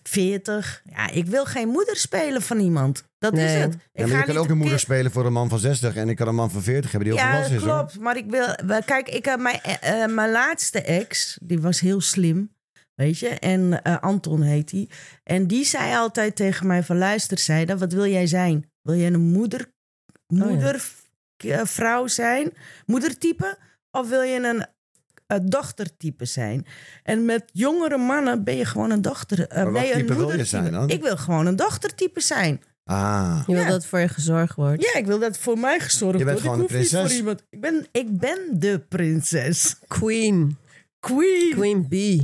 Speaker 1: 40. Ja, ik wil geen moeder spelen van iemand. Dat is
Speaker 2: Nee.
Speaker 1: het. Ik
Speaker 3: Ja, maar je kan
Speaker 1: niet
Speaker 3: ook een moeder
Speaker 1: keer-
Speaker 3: spelen voor een man van 60 en ik kan een man van 40 hebben die heel
Speaker 1: Ja,
Speaker 3: volwassen
Speaker 1: dat
Speaker 3: is. hoor.
Speaker 1: klopt. Maar ik wil. wel, Kijk, ik heb mijn, eh, eh, mijn laatste ex, die was heel slim. Weet je, en eh, Anton heet die. En die zei altijd tegen mij: van luister, Zeida, wat wil jij zijn? Wil jij een moeder,
Speaker 2: ja.
Speaker 1: moeder, eh, vrouw zijn? Moedertype? Of wil je een eh, dochtertype zijn. En met jongere mannen ben je gewoon een dochter. eh,
Speaker 3: Maar
Speaker 1: ben
Speaker 3: wat
Speaker 1: je een
Speaker 3: type wil je
Speaker 1: moedertype.
Speaker 3: zijn dan?
Speaker 1: Ik wil gewoon een dochtertype zijn.
Speaker 3: Ah,
Speaker 2: Je wil
Speaker 1: Ja.
Speaker 2: dat voor je gezorgd wordt.
Speaker 1: Ja, ik wil dat voor mij gezorgd wordt.
Speaker 3: Je bent
Speaker 1: ik
Speaker 3: gewoon
Speaker 1: hoef
Speaker 3: een
Speaker 1: niet voor
Speaker 3: prinses.
Speaker 1: iemand. Ik ben, ik ben de prinses.
Speaker 2: Queen.
Speaker 1: Queen.
Speaker 2: Queen B.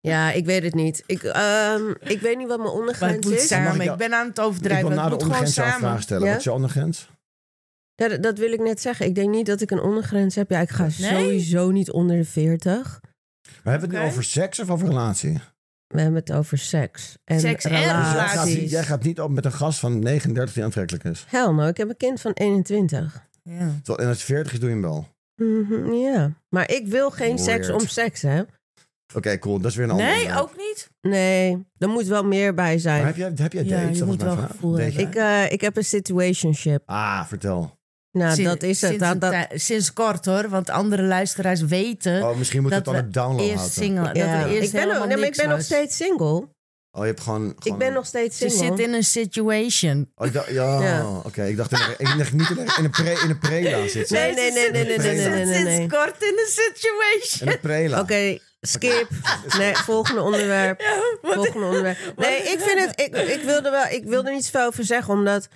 Speaker 2: Ja, ik weet het niet. Ik, ehm, ik weet niet wat mijn
Speaker 1: Maar het
Speaker 2: ondergrens
Speaker 1: moet
Speaker 2: is.
Speaker 3: Mag
Speaker 1: samen.
Speaker 3: ik
Speaker 1: Ik
Speaker 3: dat-
Speaker 1: ben aan het
Speaker 3: ik wil
Speaker 1: overdrijven.
Speaker 3: na
Speaker 1: maar
Speaker 3: de
Speaker 1: Het moet gewoon
Speaker 3: ondergrens jou een
Speaker 1: samen.
Speaker 3: vraag stellen.
Speaker 2: Ja?
Speaker 3: Wat is je ondergrens?
Speaker 2: Ja, dat- dat wil ik net zeggen. Ik denk niet dat ik een ondergrens heb. Ja, ik ga sowieso niet onder de 40.
Speaker 3: Maar hebben we
Speaker 1: Oké.
Speaker 3: het nu over seks of over relatie?
Speaker 2: We hebben het over seks. En
Speaker 1: Seks en
Speaker 3: Dus jij, gaat,
Speaker 1: Relaties.
Speaker 3: jij gaat niet op met een gast van 39 die aantrekkelijk is.
Speaker 2: Hell no, nou, ik heb een kind van 21.
Speaker 1: Ja.
Speaker 3: Terwijl- En als je 40 is, doe je hem wel. Oké,
Speaker 2: Mhm, ja, maar ik wil geen seks
Speaker 3: Weird.
Speaker 2: om seks, hè?
Speaker 3: cool. Dat is weer een ander.
Speaker 1: Nee,
Speaker 3: onderwerp.
Speaker 1: ook niet.
Speaker 2: Nee, er moet wel meer bij
Speaker 3: Maar
Speaker 2: zijn.
Speaker 3: heb jij, heb jij
Speaker 1: Ja,
Speaker 3: dates?
Speaker 1: je
Speaker 3: Dat was
Speaker 1: moet
Speaker 3: mijn
Speaker 1: wel
Speaker 3: vraag.
Speaker 1: gevoel
Speaker 3: Date-
Speaker 1: hebben.
Speaker 2: Ik, eh, ik heb een situationship.
Speaker 3: Ah, vertel.
Speaker 2: Nou,
Speaker 1: Sin-
Speaker 2: dat is het.
Speaker 1: Sinds,
Speaker 2: Dat, dat,
Speaker 1: een tij- sinds kort hoor, want andere luisteraars weten
Speaker 3: Oh, misschien moet
Speaker 1: Eh, dat
Speaker 3: het dan
Speaker 1: we
Speaker 3: op download
Speaker 1: eerst
Speaker 3: houden.
Speaker 1: single. Dat
Speaker 2: ja.
Speaker 1: er eerst
Speaker 2: ik ben, nog,
Speaker 1: helemaal
Speaker 2: nee, maar ik
Speaker 1: niks
Speaker 2: ben nog
Speaker 1: was.
Speaker 2: steeds single.
Speaker 3: Oh, je hebt gewoon... gewoon
Speaker 2: Ik ben
Speaker 3: een-
Speaker 2: nog steeds
Speaker 1: Ze
Speaker 2: single.
Speaker 1: zit in een situation.
Speaker 3: Oh, ik dacht- ja,
Speaker 2: Ja.
Speaker 3: oké. ik dacht, in- ik dacht niet in een, in een, pre, in een prela zit ze.
Speaker 2: Nee, nee, nee, nee, nee, nee, nee, nee, nee.
Speaker 1: Ze zit sinds kort in een situation.
Speaker 3: In een prela.
Speaker 2: Oké, skip. Nee, volgende onderwerp. volgende onderwerp. Nee, ik vind het. Ik, ik wilde wel. Ik wilde niet zoveel over zeggen, omdat.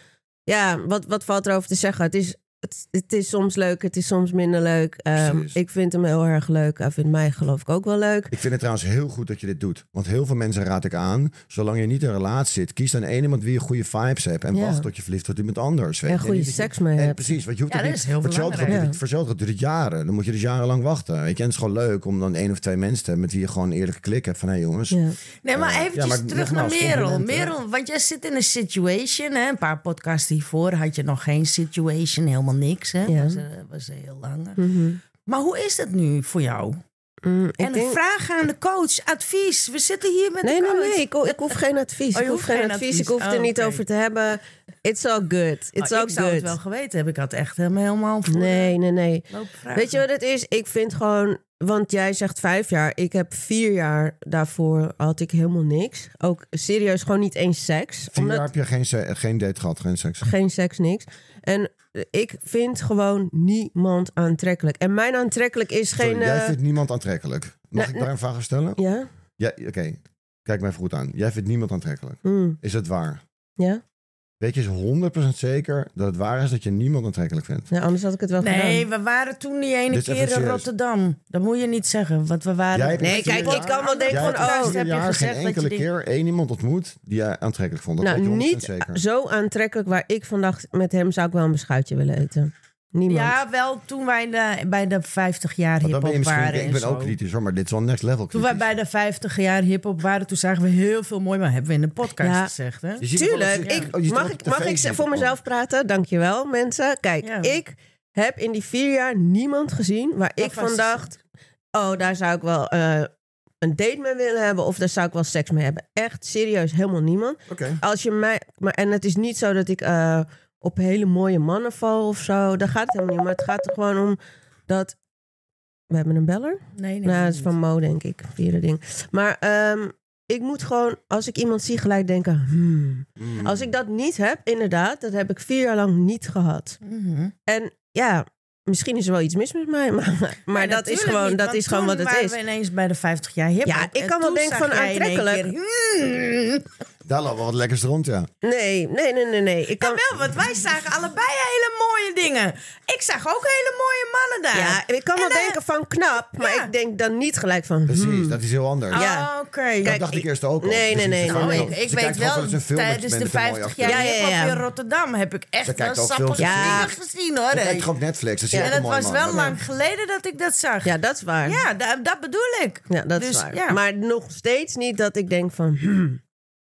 Speaker 2: Ja, wat, wat valt erover te zeggen? Het is, het, het is soms leuk, het is soms minder leuk. Ehm,
Speaker 3: Precies.
Speaker 2: ik vind hem heel erg leuk. Hij vindt mij, geloof ik, ook wel leuk.
Speaker 3: Ik vind het trouwens heel goed dat je dit doet. Want heel veel mensen raad ik aan, zolang je niet in een relatie zit, kies dan één iemand wie je goede vibes hebt. En
Speaker 2: Ja.
Speaker 3: wacht tot je verliefd wordt op iemand anders. weet
Speaker 2: En
Speaker 3: je.
Speaker 2: goede
Speaker 3: Niet dat je-
Speaker 2: seks mee
Speaker 3: En
Speaker 2: hebt.
Speaker 3: precies, want je hoeft
Speaker 1: Ja,
Speaker 3: ook
Speaker 1: dat
Speaker 3: niet...
Speaker 1: is heel
Speaker 3: voor hetzelfde
Speaker 1: belangrijk.
Speaker 3: gaat- Voor hetzelfde gaat duurt het jaren. Dan moet je dus jarenlang wachten. Weet je? En het is gewoon leuk om dan één of twee mensen te hebben met wie je gewoon een eerlijke klik hebt. Van, hé jongens,
Speaker 2: Ja.
Speaker 1: Nee, maar
Speaker 3: Eh,
Speaker 1: eventjes
Speaker 3: ja, maar
Speaker 1: terug naar
Speaker 3: nogmaals,
Speaker 1: Merel.
Speaker 3: complimenten, hè.
Speaker 1: Merel, want jij zit in een situation. Hè? Een paar podcasts hiervoor had je nog geen situation, helemaal niks. Hè?
Speaker 2: Ja.
Speaker 1: Was, eh, was heel lang.
Speaker 2: Mhm.
Speaker 1: Maar hoe is dat nu voor jou?
Speaker 2: Mm,
Speaker 1: en
Speaker 2: ik denk-
Speaker 1: vraag aan de coach, advies. We zitten hier met
Speaker 2: Nee,
Speaker 1: de
Speaker 2: nee,
Speaker 1: coach.
Speaker 2: nee. Ik, ho- ik hoef geen advies.
Speaker 1: Oh, je
Speaker 2: ik hoef
Speaker 1: hoeft
Speaker 2: geen
Speaker 1: geen
Speaker 2: advies. Ik
Speaker 1: advies.
Speaker 2: hoef het er
Speaker 1: Oh,
Speaker 2: niet
Speaker 1: oké.
Speaker 2: over te hebben. It's all good. It's
Speaker 1: Oh,
Speaker 2: all
Speaker 1: ik zou het
Speaker 2: good.
Speaker 1: wel geweten hebben. Ik had echt helemaal, helemaal voor
Speaker 2: Nee, nee, nee.
Speaker 1: de loop vragen.
Speaker 2: Weet je wat het is? Ik vind gewoon, want jij zegt vijf jaar. Ik heb vier jaar daarvoor had ik helemaal niks. Ook serieus gewoon niet eens seks.
Speaker 3: vier
Speaker 2: Omdat
Speaker 3: jaar heb je geen, se- geen date gehad, geen seks.
Speaker 2: geen seks, niks. En eh, ik vind gewoon niemand aantrekkelijk. En mijn aantrekkelijk is
Speaker 3: Sorry,
Speaker 2: geen.
Speaker 3: jij
Speaker 2: eh,
Speaker 3: vindt niemand aantrekkelijk. Mag
Speaker 2: Nee,
Speaker 3: ik daar een vraag aan stellen?
Speaker 2: Ja.
Speaker 3: Ja, Oké, kijk mij even goed aan. Jij vindt niemand aantrekkelijk.
Speaker 2: Hmm.
Speaker 3: Is dat waar?
Speaker 2: Ja?
Speaker 3: Weet je eens 100% zeker dat het waar is dat je niemand aantrekkelijk vindt?
Speaker 2: ja, Nou, anders had ik het wel
Speaker 1: Nee,
Speaker 2: gedaan.
Speaker 1: we waren toen die ene
Speaker 3: Dit is even
Speaker 1: keer in
Speaker 3: serieus.
Speaker 1: Rotterdam. Dat moet je niet zeggen, want we waren...
Speaker 3: Jij hebt
Speaker 2: Nee,
Speaker 3: in
Speaker 2: kijk,
Speaker 3: vier
Speaker 2: ik kan wel denken
Speaker 3: jij
Speaker 2: van,
Speaker 3: hebt in
Speaker 2: oh,
Speaker 3: vier
Speaker 1: heb je
Speaker 3: jaar
Speaker 1: gezegd
Speaker 3: geen
Speaker 1: dat je
Speaker 3: enkele
Speaker 1: denkt-
Speaker 3: keer één iemand ontmoet die jij aantrekkelijk vond. Dat
Speaker 2: Nou,
Speaker 3: weet je 100%
Speaker 2: niet
Speaker 3: zeker.
Speaker 2: zo aantrekkelijk waar ik van dacht, met hem zou ik wel een beschuitje willen eten. Niemand.
Speaker 1: Ja, wel toen wij in de, bij de 50 jaar
Speaker 3: Want dan ben
Speaker 1: hiphop
Speaker 3: je misschien,
Speaker 1: waren
Speaker 3: ik
Speaker 1: en
Speaker 3: ben
Speaker 1: zo.
Speaker 3: ook kritisch hoor, maar dit is wel next level
Speaker 1: Toen
Speaker 3: kritisch.
Speaker 1: wij bij de 50 jaar hiphop waren, toen zagen we heel veel mooi. Maar hebben we in de podcast
Speaker 2: Ja. Dus-
Speaker 1: gezegd, hè?
Speaker 3: Je ziet het wel dat
Speaker 2: Tuurlijk.
Speaker 3: ze-
Speaker 2: Ik,
Speaker 3: oh, je ziet
Speaker 2: mag
Speaker 3: het op
Speaker 2: ik,
Speaker 3: de
Speaker 2: mag ik
Speaker 3: Facebook
Speaker 2: ze- voor
Speaker 3: ook.
Speaker 2: mezelf praten? Dankjewel, mensen. Kijk,
Speaker 1: Ja.
Speaker 2: ik heb in die vier jaar niemand gezien waar ik
Speaker 1: was-
Speaker 2: van dacht... oh, daar zou ik wel eh, een date mee willen hebben... of daar zou ik wel seks mee hebben. Echt, serieus, helemaal niemand.
Speaker 3: Oké.
Speaker 2: Als je mij, maar, en het is niet zo dat ik eh, op hele mooie mannen val of zo. Daar gaat het helemaal niet om. Maar het gaat er gewoon om dat... We hebben een beller?
Speaker 1: Nee, nee.
Speaker 2: nou,
Speaker 1: nee,
Speaker 2: dat is van Mo, denk ik. Vierde ding. Maar ehm, ik moet gewoon, als ik iemand zie, gelijk denken... hmm,
Speaker 3: Mm.
Speaker 2: als ik dat niet heb, inderdaad, dat heb ik vier jaar lang niet gehad.
Speaker 1: niet. Mhm.
Speaker 2: En ja, misschien is er wel iets mis met mij, maar, maar
Speaker 1: Nee,
Speaker 2: dat is
Speaker 1: natuurlijk
Speaker 2: gewoon,
Speaker 1: niet,
Speaker 2: dat
Speaker 1: want
Speaker 2: is gewoon
Speaker 1: toen
Speaker 2: wat het
Speaker 1: waren
Speaker 2: is.
Speaker 1: we ineens bij de 50 jaar hiphop.
Speaker 2: Ja, ik
Speaker 1: En
Speaker 2: kan wel
Speaker 1: toen
Speaker 2: denken
Speaker 1: zag
Speaker 2: van
Speaker 1: jij in één
Speaker 2: aantrekkelijk.
Speaker 1: keer, "Mm."
Speaker 3: Daar loopt wel wat lekkers rond, ja.
Speaker 1: Hmm.
Speaker 2: Nee, nee, nee, nee, nee. Ik kan,
Speaker 1: Wel, want wij zagen allebei hele mooie dingen. Ik zag ook hele mooie mannen daar.
Speaker 2: ja, ik kan wel denken van knap, maar
Speaker 1: ja.
Speaker 2: ik denk dan niet gelijk van...
Speaker 3: Precies,
Speaker 2: hmm.
Speaker 3: dat is heel anders.
Speaker 1: Oh,
Speaker 2: Ja.
Speaker 1: oké.
Speaker 3: dat dacht ik,
Speaker 2: ik-
Speaker 3: eerst ook al.
Speaker 2: Nee, nee,
Speaker 3: Dus het is
Speaker 2: nee,
Speaker 3: gewoon
Speaker 2: nee.
Speaker 3: heel-
Speaker 1: ik, ik
Speaker 3: ze
Speaker 1: weet
Speaker 3: kijkt gewoon
Speaker 1: wel,
Speaker 3: eens een film met-
Speaker 1: tijdens
Speaker 3: met
Speaker 1: de
Speaker 3: een mooie
Speaker 1: 50
Speaker 3: acteur.
Speaker 1: jaar
Speaker 2: Ja, ja,
Speaker 1: hiphop
Speaker 2: ja.
Speaker 1: in Rotterdam heb ik echt
Speaker 3: kijkt
Speaker 1: wel
Speaker 3: ook films
Speaker 1: sappels
Speaker 3: en
Speaker 2: Ja.
Speaker 1: vingers gezien hoor.
Speaker 3: Ze
Speaker 1: hé.
Speaker 3: kijkt gewoon op Netflix. dat zie je
Speaker 1: En
Speaker 3: ook
Speaker 1: dat
Speaker 3: een mooi
Speaker 1: was
Speaker 3: man.
Speaker 1: wel lang geleden dat ik dat zag. Ja,
Speaker 2: Ja, dat is waar. Ja,
Speaker 1: da- dat bedoel ik.
Speaker 2: dat is
Speaker 1: Dus,
Speaker 2: waar.
Speaker 1: ja.
Speaker 2: Maar nog steeds niet dat ik denk van... hmm.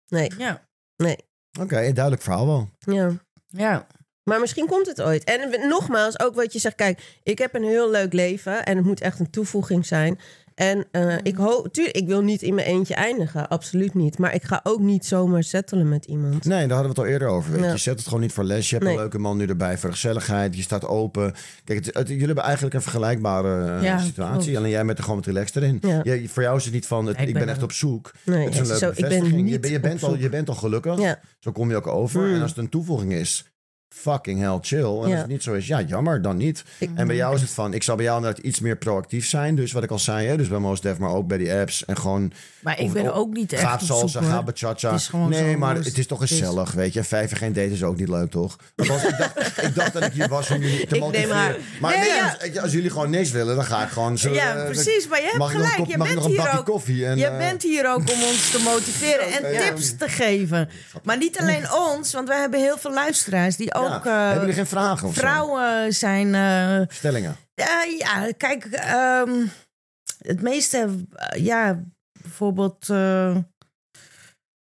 Speaker 2: Nee,
Speaker 1: Ja,
Speaker 2: nee.
Speaker 3: Oké, een duidelijk verhaal wel.
Speaker 2: Ja.
Speaker 1: ja.
Speaker 2: Maar misschien komt het ooit. En we- nogmaals, ook wat je zegt. Kijk, ik heb een heel leuk leven. En het moet echt een toevoeging zijn. En eh, ik hoop... Tuurlijk, ik wil niet in mijn eentje eindigen. Absoluut niet. Maar ik ga ook niet zomaar settelen met iemand.
Speaker 3: Nee, daar hadden we het al eerder over. Weet. je.
Speaker 2: Ja.
Speaker 3: Je zet het gewoon niet voor les. Je hebt
Speaker 2: Nee.
Speaker 3: een leuke man nu erbij voor de gezelligheid. Je staat open. Kijk, het, het- jullie hebben eigenlijk een vergelijkbare eh,
Speaker 1: Ja,
Speaker 3: situatie.
Speaker 1: klopt.
Speaker 3: Alleen jij bent er gewoon wat relaxed erin.
Speaker 2: Ja.
Speaker 3: Je, voor jou is het niet van, het,
Speaker 1: Nee,
Speaker 3: ik,
Speaker 1: ik
Speaker 3: ben
Speaker 1: ben
Speaker 3: echt
Speaker 1: er-
Speaker 3: op zoek.
Speaker 2: Nee,
Speaker 3: het is een
Speaker 2: het is
Speaker 3: leuke
Speaker 2: zo, ik ben
Speaker 3: bevestiging. Je
Speaker 2: niet
Speaker 3: ben- je, bent
Speaker 2: op
Speaker 3: al,
Speaker 2: zoek.
Speaker 3: je bent al gelukkig.
Speaker 2: Ja.
Speaker 3: Zo kom je ook over.
Speaker 2: Mm.
Speaker 3: En als het een toevoeging is, fucking hell chill. En
Speaker 2: Ja. Mm.
Speaker 3: als het niet zo is, ja, jammer, dan niet. En bij jou is het van, ik zal bij jou inderdaad iets meer proactief zijn. Dus wat ik al zei, hè, dus bij Most Def, maar ook bij die apps. En gewoon,
Speaker 1: Maar ik
Speaker 3: Of-
Speaker 1: ben
Speaker 3: of-
Speaker 1: ook niet echt
Speaker 3: ga
Speaker 1: op zoek,
Speaker 3: salsa,
Speaker 1: hoor.
Speaker 3: ga bachata.
Speaker 1: Het is gewoon
Speaker 3: Nee,
Speaker 1: zo,
Speaker 3: maar
Speaker 1: dus
Speaker 3: het is toch
Speaker 1: het is-
Speaker 3: gezellig, weet je. Vijf geen daten is ook niet leuk, toch? Althans, ik, dacht, ik dacht dat ik hier was om jullie te
Speaker 2: Ik neem
Speaker 3: motiveren.
Speaker 2: haar.
Speaker 3: Maar
Speaker 1: Nee,
Speaker 3: nee,
Speaker 1: ja.
Speaker 3: als, als jullie gewoon niks willen, dan ga ik gewoon... Zo,
Speaker 1: Ja, precies. Maar je hebt
Speaker 3: Eh, mag ik nog een
Speaker 1: gelijk.
Speaker 3: kop-
Speaker 1: Je
Speaker 3: mag
Speaker 1: bent
Speaker 3: ik nog een
Speaker 1: hier
Speaker 3: bakje
Speaker 1: ook-
Speaker 3: koffie? En,
Speaker 1: Je
Speaker 3: eh,
Speaker 1: bent hier ook om ons te motiveren en
Speaker 3: Ja.
Speaker 1: tips te geven. Maar niet alleen ons, want wij hebben heel veel luisteraars die
Speaker 3: ja.
Speaker 1: ook eh,
Speaker 3: Hebben jullie geen vragen of zo?
Speaker 1: vrouwen zijn. eh,
Speaker 3: Stellingen.
Speaker 1: eh, ja, kijk, ehm, het meeste, eh, ja, bijvoorbeeld. eh,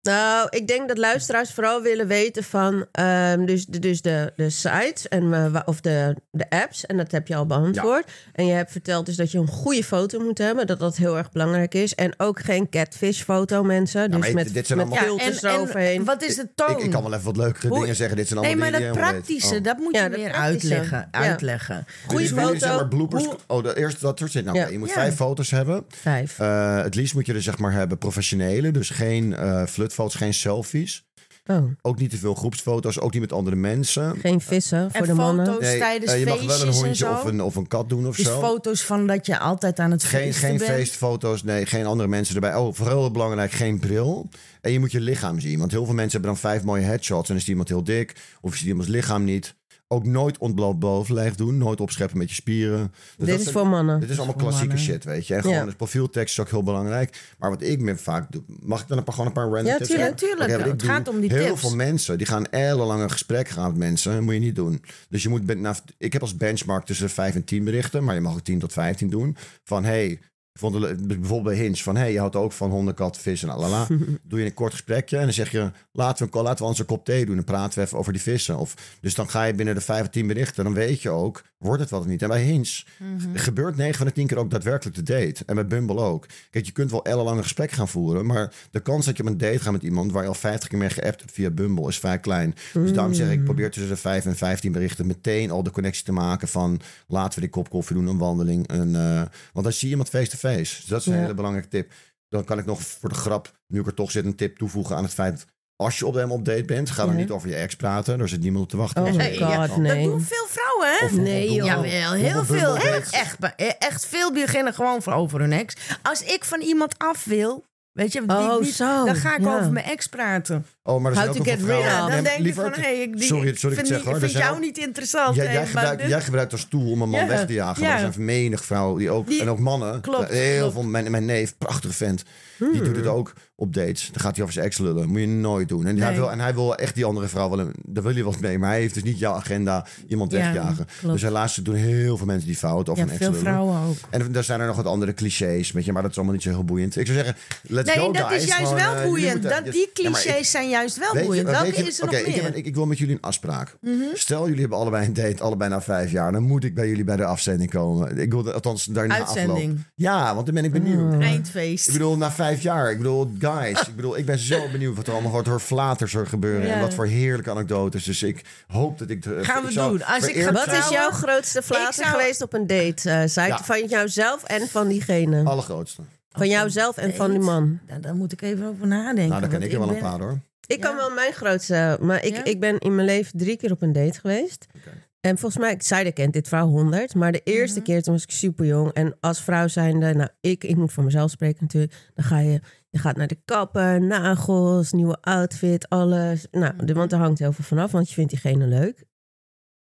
Speaker 2: Nou, ik denk dat luisteraars vooral willen weten van ehm, dus, de- dus de, de sites en, eh, wa- of de, de apps. En dat heb je al beantwoord. En je hebt verteld dus dat je een goede foto moet hebben. Dat dat heel erg belangrijk is. En ook geen catfish foto mensen. Dus
Speaker 3: maar
Speaker 2: met,
Speaker 3: dit- dit zijn
Speaker 2: met
Speaker 1: ja,
Speaker 3: allemaal-
Speaker 2: filters eroverheen.
Speaker 1: wat is de toon?
Speaker 3: Ik, ik kan wel even wat leukere
Speaker 1: Hoe-
Speaker 3: dingen zeggen. Dit zijn
Speaker 1: nee,
Speaker 3: allemaal
Speaker 1: maar dat
Speaker 3: dingen die je helemaal weet.
Speaker 1: praktische, dat
Speaker 3: Oh.
Speaker 1: moet
Speaker 2: Ja,
Speaker 1: je
Speaker 2: dat
Speaker 1: meer
Speaker 2: praktische.
Speaker 1: uitleggen.
Speaker 2: Ja.
Speaker 1: uitleggen.
Speaker 2: Goede
Speaker 3: Dus jullie,
Speaker 2: foto.
Speaker 3: Zeg maar bloopers.
Speaker 2: Hoe-
Speaker 3: Oh, de eerste, dat soort zit. Nou,
Speaker 2: Ja.
Speaker 3: oké, je moet
Speaker 1: Ja.
Speaker 3: vijf foto's hebben.
Speaker 2: Vijf.
Speaker 3: Eh, het liefst moet je er zeg maar hebben professionele. Dus geen eh flutfoto's, geen selfies.
Speaker 2: Oh,
Speaker 3: Ook niet te veel groepsfoto's. Ook niet met andere mensen.
Speaker 2: geen vissen voor
Speaker 1: En
Speaker 2: de mannen.
Speaker 1: foto's tijdens
Speaker 3: eh, je mag wel een
Speaker 1: feestjes en
Speaker 3: hondje
Speaker 1: zo.
Speaker 3: of een, of een kat doen of
Speaker 1: Dus
Speaker 3: zo.
Speaker 1: foto's van dat je altijd aan het
Speaker 3: Geen,
Speaker 1: feesten
Speaker 3: geen
Speaker 1: bent.
Speaker 3: feestfoto's, nee, geen andere mensen erbij. Oh, vooral heel belangrijk, geen bril. En je moet je lichaam zien. Want heel veel mensen hebben dan vijf mooie headshots. En is iemand heel dik, of is iemands lichaam niet. Ook nooit ontbloot bovenlijf doen. Nooit opscheppen met je spieren. Dus dat
Speaker 2: Dit is
Speaker 3: zijn-
Speaker 2: voor mannen.
Speaker 3: Dit is allemaal klassieke shit, weet je. En gewoon
Speaker 2: Ja.
Speaker 3: het profieltekst is ook heel belangrijk. Maar wat ik me vaak doe... Mag ik dan een paar, gewoon een paar random
Speaker 2: Ja,
Speaker 3: tips
Speaker 2: tuurlijk.
Speaker 3: geven?
Speaker 1: Ja, tuurlijk.
Speaker 3: Oké, wat ik
Speaker 1: Het gaat om die
Speaker 3: heel
Speaker 1: tips.
Speaker 3: veel mensen, die gaan ellenlang een gesprek gaan met mensen. Dat moet je niet doen. Dus je moet... ben- nou, ik heb als benchmark tussen de 5 en 10 berichten. Maar je mag ook 10 tot 15 doen. Van, hé... Hey, ik vond het le- bijvoorbeeld bij Hinge van... hé, hey, je houdt ook van honden, kat, vis en alala. doe je een kort gesprekje en dan zeg je... laten we, een- laten we ons een kop thee doen en praten we even over die vissen. Of, dus dan ga je binnen de 5 of 10 berichten... dan weet je ook, wordt het wat of niet. En bij Hinge
Speaker 2: Mhm.
Speaker 3: gebeurt 9 van de 10 keer ook daadwerkelijk de date. En bij Bumble ook. Kijk, je kunt wel ellenlang een gesprek gaan voeren... maar de kans dat je op een date gaat met iemand... waar je al 50 keer mee geappt hebt via Bumble is vrij klein. Dus daarom zeg
Speaker 2: Mm.
Speaker 3: ik, probeer tussen de 5 en 15 berichten... meteen al de connectie te maken van... laten we die kop koffie doen, een wandeling. Een, eh, want dan zie je iemand face-to-face. Dus dat is een
Speaker 2: Ja.
Speaker 3: hele belangrijke tip. Dan kan ik nog voor de grap, nu ik er toch zit, een tip toevoegen aan het feit... als je op hem op date bent, ga dan
Speaker 2: Ja.
Speaker 3: niet over je ex praten. Daar zit niemand op te wachten.
Speaker 2: Oh
Speaker 3: Dat is
Speaker 2: my
Speaker 3: een-
Speaker 1: Ja,
Speaker 2: god,
Speaker 1: Dat
Speaker 2: nee.
Speaker 1: doen veel vrouwen, hè?
Speaker 3: Of- of
Speaker 2: Nee,
Speaker 3: doe
Speaker 2: joh.
Speaker 3: wel.
Speaker 1: Jawel,
Speaker 3: Hoeveel
Speaker 1: heel veel.
Speaker 3: Bumble
Speaker 1: Echt,
Speaker 3: dates?
Speaker 1: echt, be- eh, echt veel beginnen gewoon voor over hun ex. Als ik van iemand af wil, weet je, die ik
Speaker 2: Oh,
Speaker 1: niet-
Speaker 2: zo,
Speaker 1: dan ga ik
Speaker 2: ja.
Speaker 1: over mijn ex praten.
Speaker 3: Oh, maar er zijn
Speaker 2: How
Speaker 3: ook
Speaker 2: to
Speaker 3: heel veel
Speaker 2: get rid of.
Speaker 3: vrouwen-
Speaker 1: Ja, dan
Speaker 3: Nee,
Speaker 1: denk je van,
Speaker 3: liever-
Speaker 1: hé, ik die-
Speaker 3: sorry, sorry
Speaker 1: vind,
Speaker 3: ik zeg
Speaker 1: die-
Speaker 3: hoor. er
Speaker 1: vind
Speaker 3: zijn
Speaker 1: jou
Speaker 3: ook-
Speaker 1: niet interessant.
Speaker 3: Ja,
Speaker 1: hè,
Speaker 3: jij,
Speaker 1: maar
Speaker 3: gebruikt,
Speaker 1: dit-
Speaker 3: jij gebruikt als tool om een man
Speaker 1: Ja,
Speaker 3: weg te jagen. Maar
Speaker 1: ja.
Speaker 3: er zijn menig vrouwen die ook.
Speaker 1: Die-
Speaker 3: en ook mannen.
Speaker 1: Klopt,
Speaker 3: heel
Speaker 1: klopt. Hmm.
Speaker 3: veel. Mijn, mijn neef, prachtige vent. Die doet het ook op dates. Dan gaat hij over zijn ex lullen. Moet je nooit doen. En, hij,
Speaker 1: Nee.
Speaker 3: wil, en hij wil echt die andere vrouw wel. een- Daar wil je wat mee. Maar hij heeft dus niet jouw agenda iemand
Speaker 1: Ja,
Speaker 3: wegjagen.
Speaker 1: klopt.
Speaker 3: Dus helaas doen heel veel mensen die fout over
Speaker 1: ja,
Speaker 3: een ex
Speaker 1: veel
Speaker 3: lullen.
Speaker 1: vrouwen ook.
Speaker 3: En daar zijn er nog wat andere clichés. Weet je, maar dat is allemaal niet zo heel boeiend. Ik zou zeggen, let's
Speaker 1: Nee,
Speaker 3: go
Speaker 1: dat
Speaker 3: guys.
Speaker 1: is juist
Speaker 3: Gewoon, eh,
Speaker 1: wel
Speaker 3: jullie
Speaker 1: boeiend.
Speaker 3: moeten-
Speaker 1: Dat,
Speaker 3: Ja,
Speaker 1: die
Speaker 3: maar ik-
Speaker 1: clichés zijn juist wel
Speaker 3: Weet je- eh,
Speaker 1: boeiend.
Speaker 3: weet
Speaker 1: Welke
Speaker 3: je-
Speaker 1: is er
Speaker 3: oké,
Speaker 1: nog
Speaker 3: ik heb
Speaker 1: meer? Mhm.
Speaker 3: een- Ik, ik wil met jullie een afspraak. Stel, jullie hebben allebei een date, allebei na vijf jaar. Dan moet ik bij jullie bij de afzending komen. Ik wil de- althans daarna
Speaker 1: Uitzending. Mm.
Speaker 3: afloop. Ja, want dan ben ik benieuwd.
Speaker 1: Eindfeest.
Speaker 3: Ik bedoel, na vijf jaar. Ik bedoel, guys. ik bedoel, ik ben zo benieuwd wat er allemaal wat voor flaters er gebeuren. En
Speaker 1: Ja.
Speaker 3: wat voor heerlijke anekdotes. Dus ik hoop dat ik... eh,
Speaker 1: Gaan we
Speaker 3: ik zou
Speaker 1: doen. Als ik ga
Speaker 3: vereerd
Speaker 2: Wat
Speaker 3: zijn-
Speaker 2: is jouw grootste flater
Speaker 1: zou-
Speaker 2: geweest op een date? eh, site
Speaker 3: Ja. Oh.
Speaker 2: van jouzelf en van diegene.
Speaker 3: Allergrootste.
Speaker 2: Van jouzelf en van die man.
Speaker 1: Ja, daar moet ik even over nadenken.
Speaker 3: Nou, dan ken
Speaker 1: want
Speaker 3: ik er wel
Speaker 1: ben-
Speaker 3: een paar hoor.
Speaker 2: Ik
Speaker 1: Ja.
Speaker 2: kan wel mijn grootste. Maar ik,
Speaker 1: Ja?
Speaker 2: ik ben in mijn leven drie keer op een date geweest.
Speaker 3: Oké.
Speaker 2: En volgens mij, ik zei dat kent dit vrouw 100. Maar de eerste
Speaker 1: Mhm.
Speaker 2: keer toen was ik super jong. En als vrouw zijnde, nou ik, ik moet voor mezelf spreken natuurlijk. Dan ga je, je gaat naar de kapper, nagels, nieuwe outfit, alles. Nou, de- want er
Speaker 1: Mhm.
Speaker 2: hangt heel veel vanaf, want je vindt diegene leuk.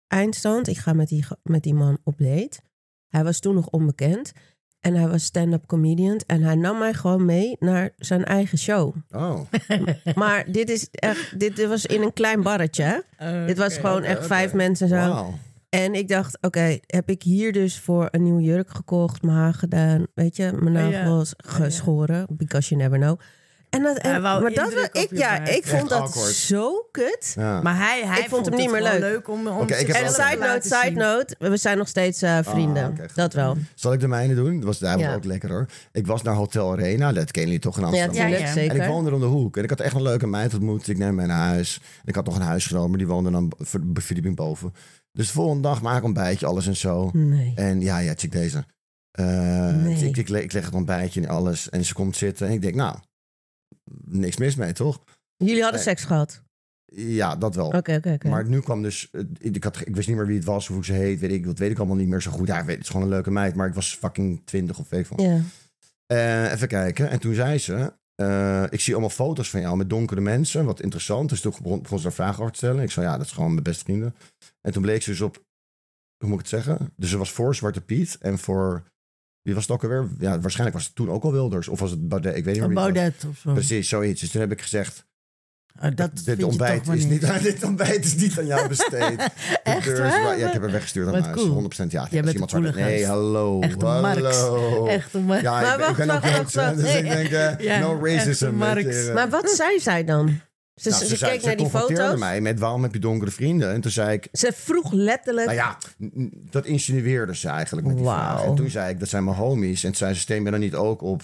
Speaker 2: Eindstand, ik ga met die, ge- met die man op date. Hij was toen nog onbekend. En hij was stand-up comedian. En hij nam mij gewoon mee naar zijn eigen show.
Speaker 3: Oh,
Speaker 2: Maar dit is echt, dit was in een klein barretje. hè?
Speaker 1: Oké.
Speaker 2: dit was gewoon echt
Speaker 3: oké.
Speaker 2: vijf mensen zo.
Speaker 3: wauw.
Speaker 2: En ik dacht, oké, heb ik hier dus voor een nieuwe jurk gekocht, mijn haar gedaan, weet je, mijn
Speaker 1: Oh ja.
Speaker 2: nagels geschoren, because you never know. En dat, en-
Speaker 1: Hij wou
Speaker 2: maar dat
Speaker 1: indruk
Speaker 2: wel- ik,
Speaker 1: op je
Speaker 2: ja,
Speaker 1: maken.
Speaker 2: ik vond
Speaker 3: Echt
Speaker 2: dat
Speaker 3: awkward.
Speaker 2: zo kut.
Speaker 3: Ja.
Speaker 1: Maar hij, hij
Speaker 2: Ik vond hem
Speaker 1: het
Speaker 2: niet meer
Speaker 1: gewoon
Speaker 2: leuk.
Speaker 1: om, om
Speaker 3: Oké, ik heb
Speaker 1: zichzelf
Speaker 2: En
Speaker 3: wel-
Speaker 2: side
Speaker 1: te
Speaker 2: note,
Speaker 1: laten
Speaker 2: side
Speaker 1: zien.
Speaker 2: note, we zijn nog steeds eh, vrienden.
Speaker 3: Ah, oké, goed.
Speaker 2: dat wel.
Speaker 3: Zal ik de mijne doen? Dat was, daar was
Speaker 2: Ja.
Speaker 3: ook lekker hoor. Ik was naar Hotel Arena. Dat kennen jullie toch in
Speaker 2: Ja,
Speaker 3: Amsterdam?
Speaker 1: Ja,
Speaker 2: natuurlijk,
Speaker 1: ja.
Speaker 2: zeker.
Speaker 3: En ik woonde er om de hoek. En ik had echt een leuke meid ontmoet. Ik neem mij naar huis. En ik had nog een huisgenoot, maar die woonde dan b- ver- verdieping boven. Dus de volgende dag maak ik ontbijtje, alles en zo.
Speaker 2: Nee.
Speaker 3: En ja, ja, check deze. Eh,
Speaker 2: Hmm. Nee.
Speaker 3: dus ik, ik, le- ik leg het ontbijtje en alles. En ze komt zitten. En ik denk, nou, niks mis mee, toch?
Speaker 2: Jullie hadden
Speaker 3: Nee.
Speaker 2: seks gehad.
Speaker 3: Ja, dat wel.
Speaker 2: Oké, oké, oké.
Speaker 3: Maar nu kwam dus, eh, ik, had, ik wist niet meer wie het was of hoe ze heet, weet ik, dat weet ik allemaal niet meer zo goed. Ja, ik weet, het is gewoon een leuke meid, maar ik was fucking 20 of weet ik veel.
Speaker 2: Ja.
Speaker 3: Eh, even kijken. En toen zei ze, eh, ik zie allemaal foto's van jou met donkere mensen, wat interessant. Dus toen begon, begon ze daar vragen over te stellen. Ik zei, ja, dat is gewoon mijn beste vrienden. En toen bleek ze dus op, hoe moet ik het zeggen? Dus ze was voor Zwarte Piet en voor, wie was het ook alweer? Ja, waarschijnlijk was het toen ook al Wilders. Of was het Baudet, ik weet niet meer
Speaker 1: Een
Speaker 3: wie het was.
Speaker 1: Baudet of zo.
Speaker 3: Precies, zoiets. Dus toen heb ik gezegd,
Speaker 1: Ah, dat vind
Speaker 3: dit
Speaker 1: je
Speaker 3: ontbijt,
Speaker 1: toch maar
Speaker 3: is
Speaker 1: niet.
Speaker 3: niet, dit ontbijt is niet aan jou besteed.
Speaker 1: Echt,
Speaker 3: De deur is
Speaker 1: waar?
Speaker 3: wa- Ja, ik heb hem weggestuurd aan
Speaker 1: Wat
Speaker 3: huis.
Speaker 1: cool.
Speaker 3: 100% ja.
Speaker 1: Jij
Speaker 3: Als
Speaker 1: bent
Speaker 3: iemand
Speaker 1: een
Speaker 3: zwart-
Speaker 1: coole
Speaker 3: Nee,
Speaker 1: gast.
Speaker 3: hallo.
Speaker 1: Echt een Marx.
Speaker 3: hallo.
Speaker 1: Echt een Marx.
Speaker 3: Ja,
Speaker 2: Maar
Speaker 3: ik, ben- ik
Speaker 2: wacht,
Speaker 3: ben ook
Speaker 2: wacht,
Speaker 3: Joods,
Speaker 2: wacht,
Speaker 3: hè, dus
Speaker 2: wacht.
Speaker 3: ik denk, eh,
Speaker 1: Ja,
Speaker 3: no
Speaker 1: echt dus een
Speaker 3: racism. weet je,
Speaker 1: Marx.
Speaker 3: eh.
Speaker 2: Maar wat zei zij dan? Ze,
Speaker 3: Nou,
Speaker 2: ze,
Speaker 3: zei-
Speaker 2: keek naar die
Speaker 3: confronteerde
Speaker 2: foto's.
Speaker 3: mij met waarom heb je donkere vrienden? En toen zei ik,
Speaker 2: Ze vroeg letterlijk...
Speaker 3: nou ja, n- n- dat insinueerde ze eigenlijk met die
Speaker 2: Wauw.
Speaker 3: vraag. En toen zei ik, dat zijn mijn homies. En toen zei ze, stem je dan niet ook op,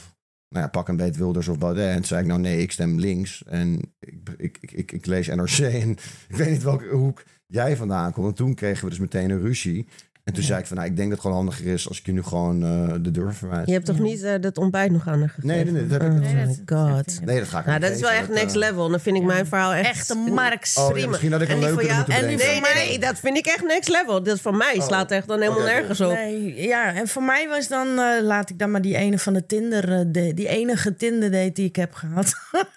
Speaker 3: nou ja, pak een beet Wilders of Baudet? En toen zei ik, nou nee, ik stem links. En ik, ik, ik, ik, ik lees NRC en ik weet niet welke hoek jij vandaan komt. En toen kregen we dus meteen een ruzie. En toen zei ik van, nou, ik denk dat het gewoon handiger is als ik je nu gewoon eh, de deur verwijs.
Speaker 2: Je hebt toch niet eh, dat ontbijt nog aan haar gegeven?
Speaker 3: Nee, nee, nee, dat heb ik
Speaker 2: Oh
Speaker 3: niet.
Speaker 2: my
Speaker 1: Nee, dat- dat
Speaker 2: god.
Speaker 1: heeft hij
Speaker 3: Nee, dat ga ik
Speaker 2: nou,
Speaker 3: haar niet
Speaker 2: dat is wel
Speaker 3: geven.
Speaker 2: echt
Speaker 3: Dat,
Speaker 2: next
Speaker 3: eh,
Speaker 2: level. Dan vind ik mijn verhaal echt...
Speaker 1: Echt een Marx.
Speaker 3: Oh, ja,
Speaker 2: prima.
Speaker 3: misschien had ik
Speaker 2: En
Speaker 3: een
Speaker 2: die
Speaker 3: leuke
Speaker 2: van jou-
Speaker 3: moeten
Speaker 1: en die
Speaker 3: bedenken.
Speaker 2: Nee, nee, nee, dat vind ik echt next level. Dat van mij slaat echt dan helemaal
Speaker 3: Oh, Oké, cool.
Speaker 2: nergens op.
Speaker 1: Nee, ja, en voor mij was dan, eh, laat ik dan maar die ene van de Tinder, eh, de, die enige Tinder date die ik heb gehad.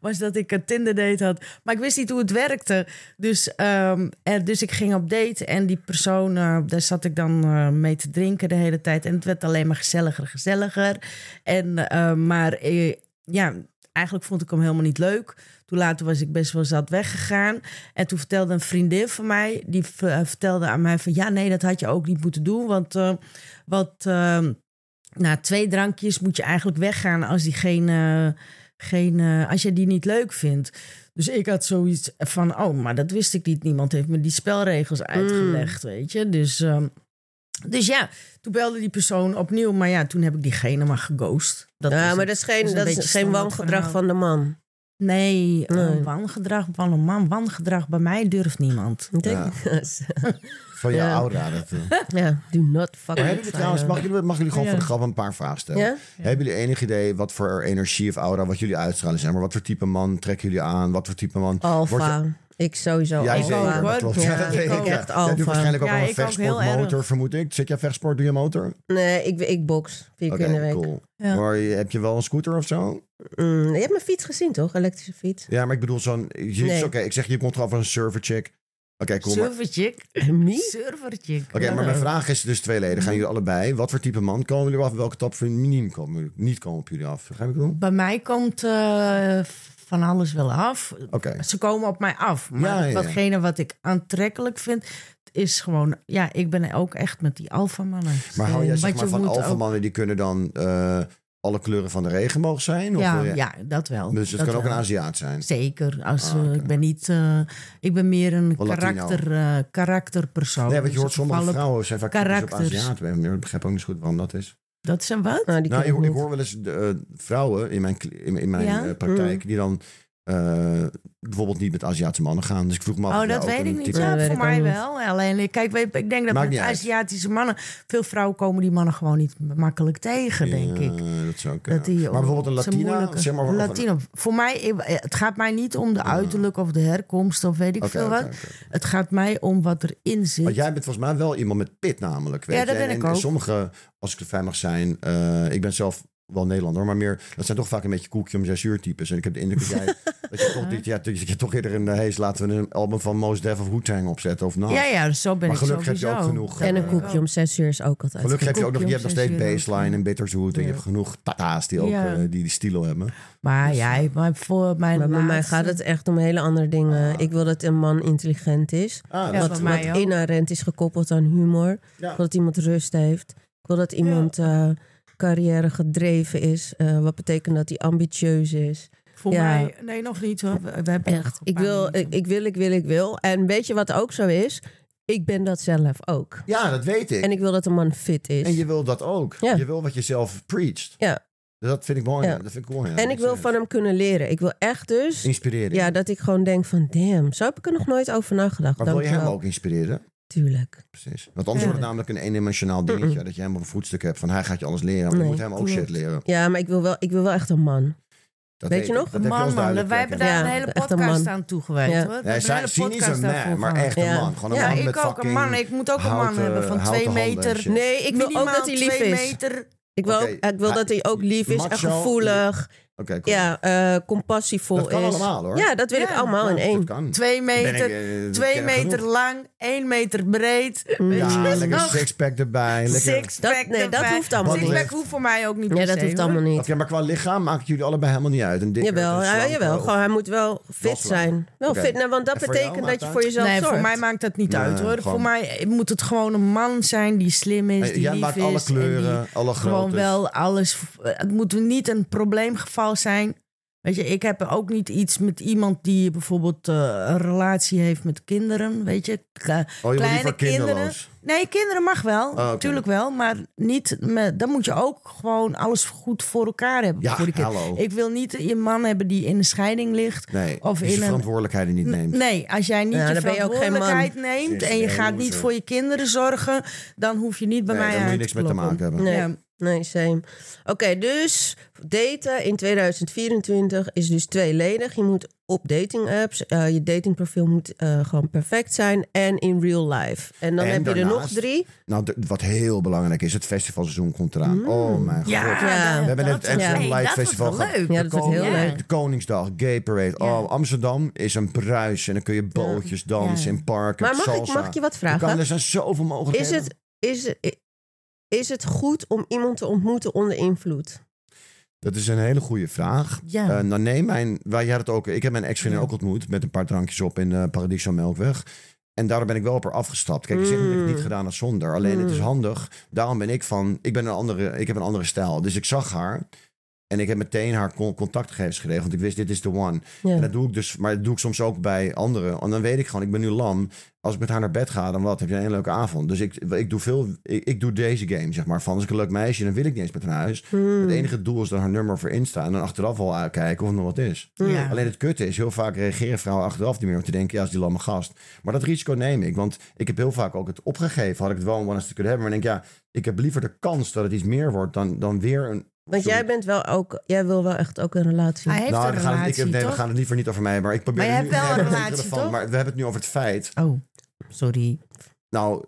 Speaker 1: was dat ik een Tinder date had. Maar ik wist niet hoe het werkte. Dus, ehm, er, dus ik ging op date en die persoon, eh, daar zat ik dan eh, mee te drinken de hele tijd. En het werd alleen maar gezelliger, gezelliger. En, eh, maar eh, ja, eigenlijk vond ik hem helemaal niet leuk. Toen later was ik best wel zat weggegaan. En toen vertelde een vriendin van mij, die v- eh, vertelde aan mij van... ja, nee, dat had je ook niet moeten doen, want... eh, wat, ehm, na twee drankjes moet je eigenlijk weggaan als diegene, geen, eh, als je die niet leuk vindt. Dus ik had zoiets van, oh, maar dat wist ik niet. Niemand heeft me die
Speaker 2: Mm.
Speaker 1: spelregels uitgelegd, weet je. Dus, ehm, dus ja, toen belde die persoon opnieuw. Maar ja, toen heb ik diegene maar geghost. Dat
Speaker 2: ja,
Speaker 1: is
Speaker 2: maar
Speaker 1: het.
Speaker 2: dat is geen,
Speaker 1: is een
Speaker 2: dat
Speaker 1: beetje
Speaker 2: is geen
Speaker 1: standaard
Speaker 2: wangedrag
Speaker 1: verhaal.
Speaker 2: van de man.
Speaker 1: Nee, eh,
Speaker 2: Nee.
Speaker 1: wangedrag van een man. Wangedrag bij mij durft niemand.
Speaker 2: Ik Denk, ja.
Speaker 3: Van jouw
Speaker 2: Ja.
Speaker 3: aura. Dat, eh.
Speaker 2: do not
Speaker 3: Maar
Speaker 2: fucking
Speaker 3: hebben jullie trouwens, mag jullie, mag jullie gewoon voor de grap een paar vragen stellen?
Speaker 2: Ja?
Speaker 3: Hebben jullie enig idee wat voor energie of aura wat jullie uitstralen zijn? Maar wat voor type man trekken jullie aan? Wat voor type man? Wordt-
Speaker 2: Alfa. Oh, Ik sowieso
Speaker 3: Jij
Speaker 2: alfa.
Speaker 3: zeker, dat klopt. Ja,
Speaker 2: Ja,
Speaker 3: dat
Speaker 2: ik
Speaker 3: weet
Speaker 2: ook
Speaker 3: ik. ja.
Speaker 2: echt
Speaker 3: Jij doet
Speaker 2: alfa.
Speaker 3: waarschijnlijk ook
Speaker 1: Ja,
Speaker 3: wel een
Speaker 1: ik ook heel
Speaker 3: vechtsportmotor,
Speaker 1: erg.
Speaker 3: vermoed ik. Zit jij vechtsport, doe je motor?
Speaker 2: Nee, ik, ik box vier keer in de week.
Speaker 3: cool.
Speaker 1: Ja.
Speaker 3: Maar je- heb je wel een scooter of zo?
Speaker 2: Mm, je hebt mijn fiets gezien, toch? Elektrische fiets.
Speaker 3: Ja, maar ik bedoel zo'n... je-
Speaker 2: Nee.
Speaker 3: Oké, ik zeg, je komt gewoon van een servercheck. Oké, cool. maar-
Speaker 1: Serverchick.
Speaker 2: Me?
Speaker 1: Serverchick.
Speaker 3: Oké, maar
Speaker 1: Eh,
Speaker 3: mijn vraag is dus tweeledig.
Speaker 2: Mhm.
Speaker 3: Gaan jullie allebei? Wat voor type man komen jullie af? Welke top van niet komen, jullie- niet komen op jullie af? Begrijp ik het wel?
Speaker 1: Bij mij komt eh, van alles wel af.
Speaker 3: Oké.
Speaker 1: Ze komen op mij af. Maar
Speaker 3: Ja, ja, ja.
Speaker 1: watgene wat ik aantrekkelijk vind, is gewoon... Ja, ik ben ook echt met die alfamannen.
Speaker 3: Maar hou jij
Speaker 1: Eh, Want
Speaker 3: zeg
Speaker 1: je
Speaker 3: maar van
Speaker 1: moet
Speaker 3: alfamannen
Speaker 1: ook-
Speaker 3: mannen die kunnen dan eh, alle kleuren van de regenboog zijn? Of
Speaker 1: Ja,
Speaker 3: wil je-
Speaker 1: ja, dat wel.
Speaker 3: Dus het
Speaker 1: dat
Speaker 3: kan ook
Speaker 1: wel.
Speaker 3: een Aziat zijn.
Speaker 1: Zeker. Als,
Speaker 3: Ah,
Speaker 1: eh,
Speaker 3: oké.
Speaker 1: ik, ben niet, eh, ik ben meer een
Speaker 3: Wel Latino.
Speaker 1: karakter, eh, karakterpersoon.
Speaker 3: Nee, want je
Speaker 1: Dus
Speaker 3: hoort
Speaker 1: ik
Speaker 3: sommige
Speaker 1: val op-
Speaker 3: vrouwen zijn vaak kritisch op
Speaker 1: karakters.
Speaker 3: Aziaten. Ik begrijp ook niet zo goed waarom dat is.
Speaker 1: Dat zijn wat?
Speaker 2: Nou, die
Speaker 3: Nou,
Speaker 2: ken
Speaker 3: ik,
Speaker 2: ik
Speaker 3: hoor- ik
Speaker 2: niet.
Speaker 3: hoor wel eens de, eh, vrouwen in mijn, kli- in, in mijn
Speaker 1: Ja? Mm.
Speaker 3: eh, praktijk die dan eh, bijvoorbeeld niet met Aziatische mannen gaan. Dus ik vroeg me af.
Speaker 1: Oh,
Speaker 3: of jij
Speaker 1: dat
Speaker 3: ook
Speaker 1: weet
Speaker 3: een
Speaker 1: ik niet.
Speaker 3: type-
Speaker 2: Ja,
Speaker 1: Ja,
Speaker 2: dat
Speaker 1: voor
Speaker 2: weet ik
Speaker 1: mij
Speaker 2: ook niet.
Speaker 1: wel. Alleen, ik- kijk, weet- ik denk dat
Speaker 3: Maakt
Speaker 1: met
Speaker 3: niet uit.
Speaker 1: Aziatische mannen... Veel vrouwen komen die mannen gewoon niet makkelijk tegen, denk
Speaker 3: Ja,
Speaker 1: ik.
Speaker 3: Dat zou kunnen.
Speaker 1: Dat die,
Speaker 3: maar bijvoorbeeld een
Speaker 1: ze
Speaker 3: Latina,
Speaker 1: moeilijke-
Speaker 3: zeg maar. of-
Speaker 1: Latino. Voor mij, eh, het gaat mij niet om de uiterlijk of de herkomst of weet ik
Speaker 3: Oké,
Speaker 1: veel
Speaker 3: oké,
Speaker 1: wat.
Speaker 3: oké.
Speaker 1: Het gaat mij om wat erin zit.
Speaker 3: Want jij bent volgens mij wel iemand met pit namelijk. Weet
Speaker 1: Ja,
Speaker 3: je.
Speaker 1: dat ben
Speaker 3: en,
Speaker 1: ik
Speaker 3: en
Speaker 1: ook.
Speaker 3: sommige, als ik er vrij mag zijn, eh, ik ben zelf wel Nederlander, maar meer, dat zijn toch vaak een beetje koekje om zes uur types. En ik heb de indruk dat jij, dat je toch, dit, ja, dat je toch eerder een, eh, hees laten we een album van Mos Def of Wu-Tang opzetten of nou.
Speaker 1: ja, ja, zo ben
Speaker 3: Maar
Speaker 1: ik
Speaker 3: gelukkig heb je
Speaker 1: sowieso.
Speaker 3: ook genoeg, eh,
Speaker 1: Dat
Speaker 2: En een
Speaker 1: ben ik
Speaker 2: koekje om zes uur is ook altijd.
Speaker 3: Gelukkig heb je ook nog, je
Speaker 1: koekje
Speaker 3: hebt nog
Speaker 1: om
Speaker 3: steeds
Speaker 1: zes uur ook,
Speaker 3: baseline en bitterzoet en je
Speaker 1: Ja.
Speaker 3: hebt genoeg tata's die ook
Speaker 1: Ja.
Speaker 3: eh, die, die stilo hebben.
Speaker 1: ook. Maar ja, maar voor mijn
Speaker 2: Dus- Maar bij mij
Speaker 1: laatste-
Speaker 2: gaat het echt om hele andere dingen.
Speaker 3: Oh.
Speaker 2: Ik wil dat een man intelligent is.
Speaker 3: Ah,
Speaker 1: Ja,
Speaker 3: dat-
Speaker 2: wat
Speaker 1: bij mij
Speaker 2: wat
Speaker 1: ook.
Speaker 2: inherent is gekoppeld aan humor.
Speaker 3: ja.
Speaker 2: Ik wil dat iemand rust heeft. Ik wil dat iemand eh, carrière gedreven is. Eh, wat betekent dat hij ambitieus is.
Speaker 1: Voor
Speaker 2: Ja.
Speaker 1: mij, nee, nog niet hoor. We, we hebben nog
Speaker 2: Echt.
Speaker 1: een
Speaker 2: Ik
Speaker 1: paar
Speaker 2: wil, ik,
Speaker 1: minuten.
Speaker 2: ik wil, ik wil, ik wil. En weet je wat ook zo is? Ik ben dat zelf ook.
Speaker 3: ja, dat weet ik.
Speaker 2: En ik wil dat een man fit is.
Speaker 3: En je wil dat ook.
Speaker 2: Ja.
Speaker 3: Je wil wat je zelf preacht.
Speaker 2: Ja.
Speaker 3: Dus dat vind ik mooi.
Speaker 2: Ja.
Speaker 3: Dat vind ik mooi. ja.
Speaker 2: en ik wil van hem kunnen leren. Ik wil echt dus...
Speaker 3: inspireren.
Speaker 2: Ja, dat ik gewoon denk van... Damn, zo heb ik er nog nooit over nagedacht.
Speaker 3: maar wil je hem
Speaker 2: Dankjewel.
Speaker 3: ook inspireren?
Speaker 2: Tuurlijk.
Speaker 3: Precies. Want anders wordt het namelijk een eendimensionaal dingetje. Dat je hem op een voetstuk hebt van hij gaat je alles leren. Maar je
Speaker 2: Nee,
Speaker 3: moet hem ook
Speaker 2: klopt.
Speaker 3: shit leren.
Speaker 2: Ja, maar ik wil wel, ik wil wel echt een man.
Speaker 3: Dat
Speaker 2: Weet je nog?
Speaker 3: dat heb
Speaker 1: man,
Speaker 3: ons
Speaker 1: man.
Speaker 3: duidelijk
Speaker 1: Wij hebben
Speaker 3: kunnen-
Speaker 1: daar
Speaker 2: Ja,
Speaker 1: een hele
Speaker 2: echt een
Speaker 1: podcast
Speaker 2: man.
Speaker 1: aan toegewijd,
Speaker 2: Ja.
Speaker 1: hoor. We
Speaker 3: Nee,
Speaker 1: hebben
Speaker 3: zij
Speaker 1: een hele
Speaker 3: zien niet
Speaker 1: podcast
Speaker 3: zo'n
Speaker 1: daarvoor
Speaker 3: man, maar
Speaker 1: gehad.
Speaker 3: echt een
Speaker 2: Ja.
Speaker 3: man. Gewoon een
Speaker 1: Ja,
Speaker 3: man
Speaker 1: ik
Speaker 3: met
Speaker 1: ook een
Speaker 3: fucking
Speaker 1: man. Ik moet ook een man
Speaker 3: houten-
Speaker 1: hebben van
Speaker 3: houten
Speaker 1: twee
Speaker 3: handen en
Speaker 1: meter.
Speaker 3: shit.
Speaker 2: Nee, ik wil
Speaker 1: Minimaal
Speaker 2: ook dat hij lief
Speaker 1: twee
Speaker 2: is.
Speaker 1: meter.
Speaker 2: Ik wil, ook-
Speaker 3: Oké,
Speaker 2: ik wil
Speaker 3: hij-
Speaker 2: dat hij ook lief is en
Speaker 3: macho,
Speaker 2: gevoelig.
Speaker 3: Oké, cool.
Speaker 2: Ja, eh, compassievol
Speaker 3: Dat kan
Speaker 2: is.
Speaker 3: allemaal, hoor.
Speaker 2: Ja, dat wil ik
Speaker 1: Ja,
Speaker 2: allemaal in één.
Speaker 3: Oh, Dat kan.
Speaker 1: Twee
Speaker 3: Ben ik,
Speaker 1: meter,
Speaker 3: eh, dat
Speaker 1: twee
Speaker 3: ken ik
Speaker 1: meter
Speaker 3: genoeg.
Speaker 1: lang, één meter breed.
Speaker 3: Ja,
Speaker 1: Jezus,
Speaker 3: lekker
Speaker 1: nog.
Speaker 3: sixpack erbij. Lekker.
Speaker 1: Sixpack
Speaker 2: Mm. Dat- nee, dat
Speaker 1: erbij.
Speaker 2: hoeft allemaal
Speaker 3: niet.
Speaker 1: Sixpack hoeft voor mij ook niet
Speaker 2: Ja,
Speaker 1: per
Speaker 2: dat
Speaker 1: se,
Speaker 2: hoeft
Speaker 1: hoor.
Speaker 2: allemaal
Speaker 3: Oké,
Speaker 2: niet.
Speaker 3: maar qua lichaam maakt jullie allebei helemaal niet uit. Een dikker,
Speaker 2: Jawel,
Speaker 3: een Oh,
Speaker 2: ja,
Speaker 3: slanker
Speaker 2: jawel.
Speaker 3: of-
Speaker 2: Gewoon, hij moet wel fit
Speaker 3: Wasser.
Speaker 2: zijn. Wel
Speaker 3: Oké.
Speaker 2: fit, nou, want dat
Speaker 3: En voor jou,
Speaker 2: betekent dat je
Speaker 3: Marta?
Speaker 2: voor jezelf
Speaker 1: Nee,
Speaker 2: zorgt.
Speaker 1: voor mij maakt dat niet
Speaker 3: Nee,
Speaker 1: uit hoor.
Speaker 3: gewoon-
Speaker 1: Voor mij moet het gewoon een man zijn die slim is,
Speaker 3: Hey,
Speaker 1: die
Speaker 3: Jij
Speaker 1: lief
Speaker 3: maakt
Speaker 1: is.
Speaker 3: alle
Speaker 1: en die
Speaker 3: kleuren, alle groottes.
Speaker 1: gewoon wel alles. Het moet niet een probleemgeval zijn. Weet je, ik heb ook niet iets met iemand die bijvoorbeeld eh, een relatie heeft met kinderen. Weet je, Kle-
Speaker 3: Oh, je wil liever
Speaker 1: kleine kinderen.
Speaker 3: kinderloos.
Speaker 1: Nee, kinderen mag wel.
Speaker 3: Ah, oké.
Speaker 1: Tuurlijk wel. Maar niet met, dan moet je ook gewoon alles goed voor elkaar hebben.
Speaker 3: Ja,
Speaker 1: voor die kind.
Speaker 3: hallo.
Speaker 1: Ik wil niet een man hebben die in de scheiding ligt.
Speaker 3: Nee,
Speaker 1: Of
Speaker 3: of die
Speaker 1: in
Speaker 3: zijn
Speaker 1: een-
Speaker 3: verantwoordelijkheden niet neemt.
Speaker 1: Nee, als jij niet
Speaker 2: Ja,
Speaker 1: je
Speaker 2: dan ben je ook geen man.
Speaker 1: verantwoordelijkheid neemt
Speaker 3: Precies,
Speaker 1: en je
Speaker 3: nee,
Speaker 1: gaat niet
Speaker 3: hoezo?
Speaker 1: voor je kinderen zorgen, dan hoef je niet bij
Speaker 3: Nee,
Speaker 1: mij
Speaker 3: daar moet je
Speaker 1: aan
Speaker 3: niks
Speaker 1: te
Speaker 3: mee te
Speaker 1: kloppen.
Speaker 3: maken hebben.
Speaker 2: Nee,
Speaker 1: Ja.
Speaker 2: nee same. Oké, dus daten in 2024 is dus tweeledig. Je moet op dating apps, eh, je datingprofiel moet eh, gewoon perfect zijn en in real life. En dan
Speaker 3: En
Speaker 2: heb je er nog
Speaker 3: daarnaast-
Speaker 2: drie.
Speaker 3: Nou, d- wat heel belangrijk is, het festivalseizoen komt eraan. Oh mijn god.
Speaker 1: Mm. Ja,
Speaker 2: Ja.
Speaker 1: dat-
Speaker 2: We
Speaker 3: hebben net
Speaker 1: dat-
Speaker 3: het Amsterdam
Speaker 1: hey,
Speaker 3: Light
Speaker 1: dat wordt
Speaker 3: Festival
Speaker 1: wel
Speaker 3: gehad.
Speaker 1: leuk.
Speaker 2: Ja, dat wordt heel
Speaker 1: Ja.
Speaker 2: leuk.
Speaker 3: De Koningsdag, Gay Parade.
Speaker 1: Ja.
Speaker 3: Oh, Amsterdam is een pruis. En dan kun je bootjes dansen
Speaker 1: Ja.
Speaker 3: in parken.
Speaker 2: Maar mag ik,
Speaker 3: salsa.
Speaker 2: mag ik je wat
Speaker 3: Je
Speaker 2: vragen?
Speaker 3: Kan, er zijn zoveel
Speaker 2: Is
Speaker 3: mogelijkheden.
Speaker 2: het, is, het- is het goed om iemand te ontmoeten onder invloed?
Speaker 3: Dat is een hele goede vraag.
Speaker 1: Ja.
Speaker 3: Eh, nou nee, mijn, wij hadden het ook. Ik heb mijn ex-vriendin ook ontmoet met een paar drankjes op in eh, Paradiso Melkweg. En daarom ben ik wel op haar afgestapt. Kijk, je zegt niet dat ik
Speaker 2: Mm.
Speaker 3: het niet gedaan als zonder. Alleen het is handig. Daarom ben ik van, ik ben een andere, ik heb een andere stijl. Dus ik zag haar en ik heb meteen haar con- contactgegevens geregeld. Want ik wist, dit is de one.
Speaker 2: Ja.
Speaker 3: En dat doe ik dus, maar dat doe ik soms ook bij anderen. En dan weet ik gewoon, ik ben nu lam. Als ik met haar naar bed ga, dan wat, heb je een hele leuke avond. Dus ik, ik doe veel, ik, ik doe deze game, zeg maar. Van als ik een leuk meisje, dan wil ik niet eens met haar naar huis. Het enige doel is dat haar nummer voor Insta en dan achteraf wel uitkijken of er nog wat is.
Speaker 1: Ja.
Speaker 3: Alleen het kutte is, heel vaak reageren vrouwen achteraf niet meer. Om te denken, ja, is die lamme gast. Maar dat risico neem ik, want ik heb heel vaak ook het opgegeven. Had ik het wel een one te kunnen hebben. Maar ik denk, ja, ik heb liever de kans dat het iets meer wordt dan, dan weer een...
Speaker 2: Want jij bent wel ook, jij wil wel echt ook een relatie.
Speaker 1: Hij heeft
Speaker 3: Nou,
Speaker 1: een
Speaker 3: we gaan, het-
Speaker 1: relatie,
Speaker 3: ik, nee,
Speaker 1: toch?
Speaker 3: we gaan het liever niet over mij, maar ik probeer...
Speaker 1: Maar je
Speaker 3: het
Speaker 1: hebt
Speaker 3: nu-
Speaker 1: wel
Speaker 3: nee,
Speaker 1: een
Speaker 3: dat is niet
Speaker 1: relatie,
Speaker 3: relevant,
Speaker 1: toch?
Speaker 3: Maar we hebben het nu over het feit.
Speaker 1: Oh, sorry.
Speaker 3: Nou,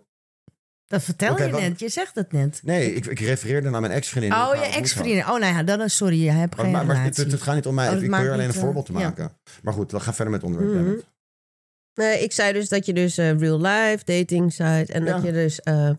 Speaker 1: Dat vertel
Speaker 3: Oké,
Speaker 1: je
Speaker 3: wat-
Speaker 1: net. Je zegt dat net.
Speaker 3: nee, ik, ik refereerde naar mijn ex-vriendin.
Speaker 1: Oh,
Speaker 3: die ik
Speaker 1: je
Speaker 3: haar ontmoet had.
Speaker 1: ex-vriendin. Oh, nou ja, dan, sorry. Je hebt
Speaker 3: Maar,
Speaker 1: geen
Speaker 3: maar, maar het,
Speaker 1: relatie.
Speaker 3: het gaat niet om mij.
Speaker 1: Oh, dat
Speaker 3: ik
Speaker 1: maakt
Speaker 3: probeer alleen
Speaker 1: niet,
Speaker 3: een
Speaker 1: eh,
Speaker 3: voorbeeld
Speaker 1: ja.
Speaker 3: te maken. Maar goed, we gaan verder met het onderwerp.
Speaker 2: Mhm.
Speaker 3: Dennis.
Speaker 2: Nee, ik zei dus dat je dus eh, real life, dating site. En dat
Speaker 3: Ja.
Speaker 2: je dus. eh,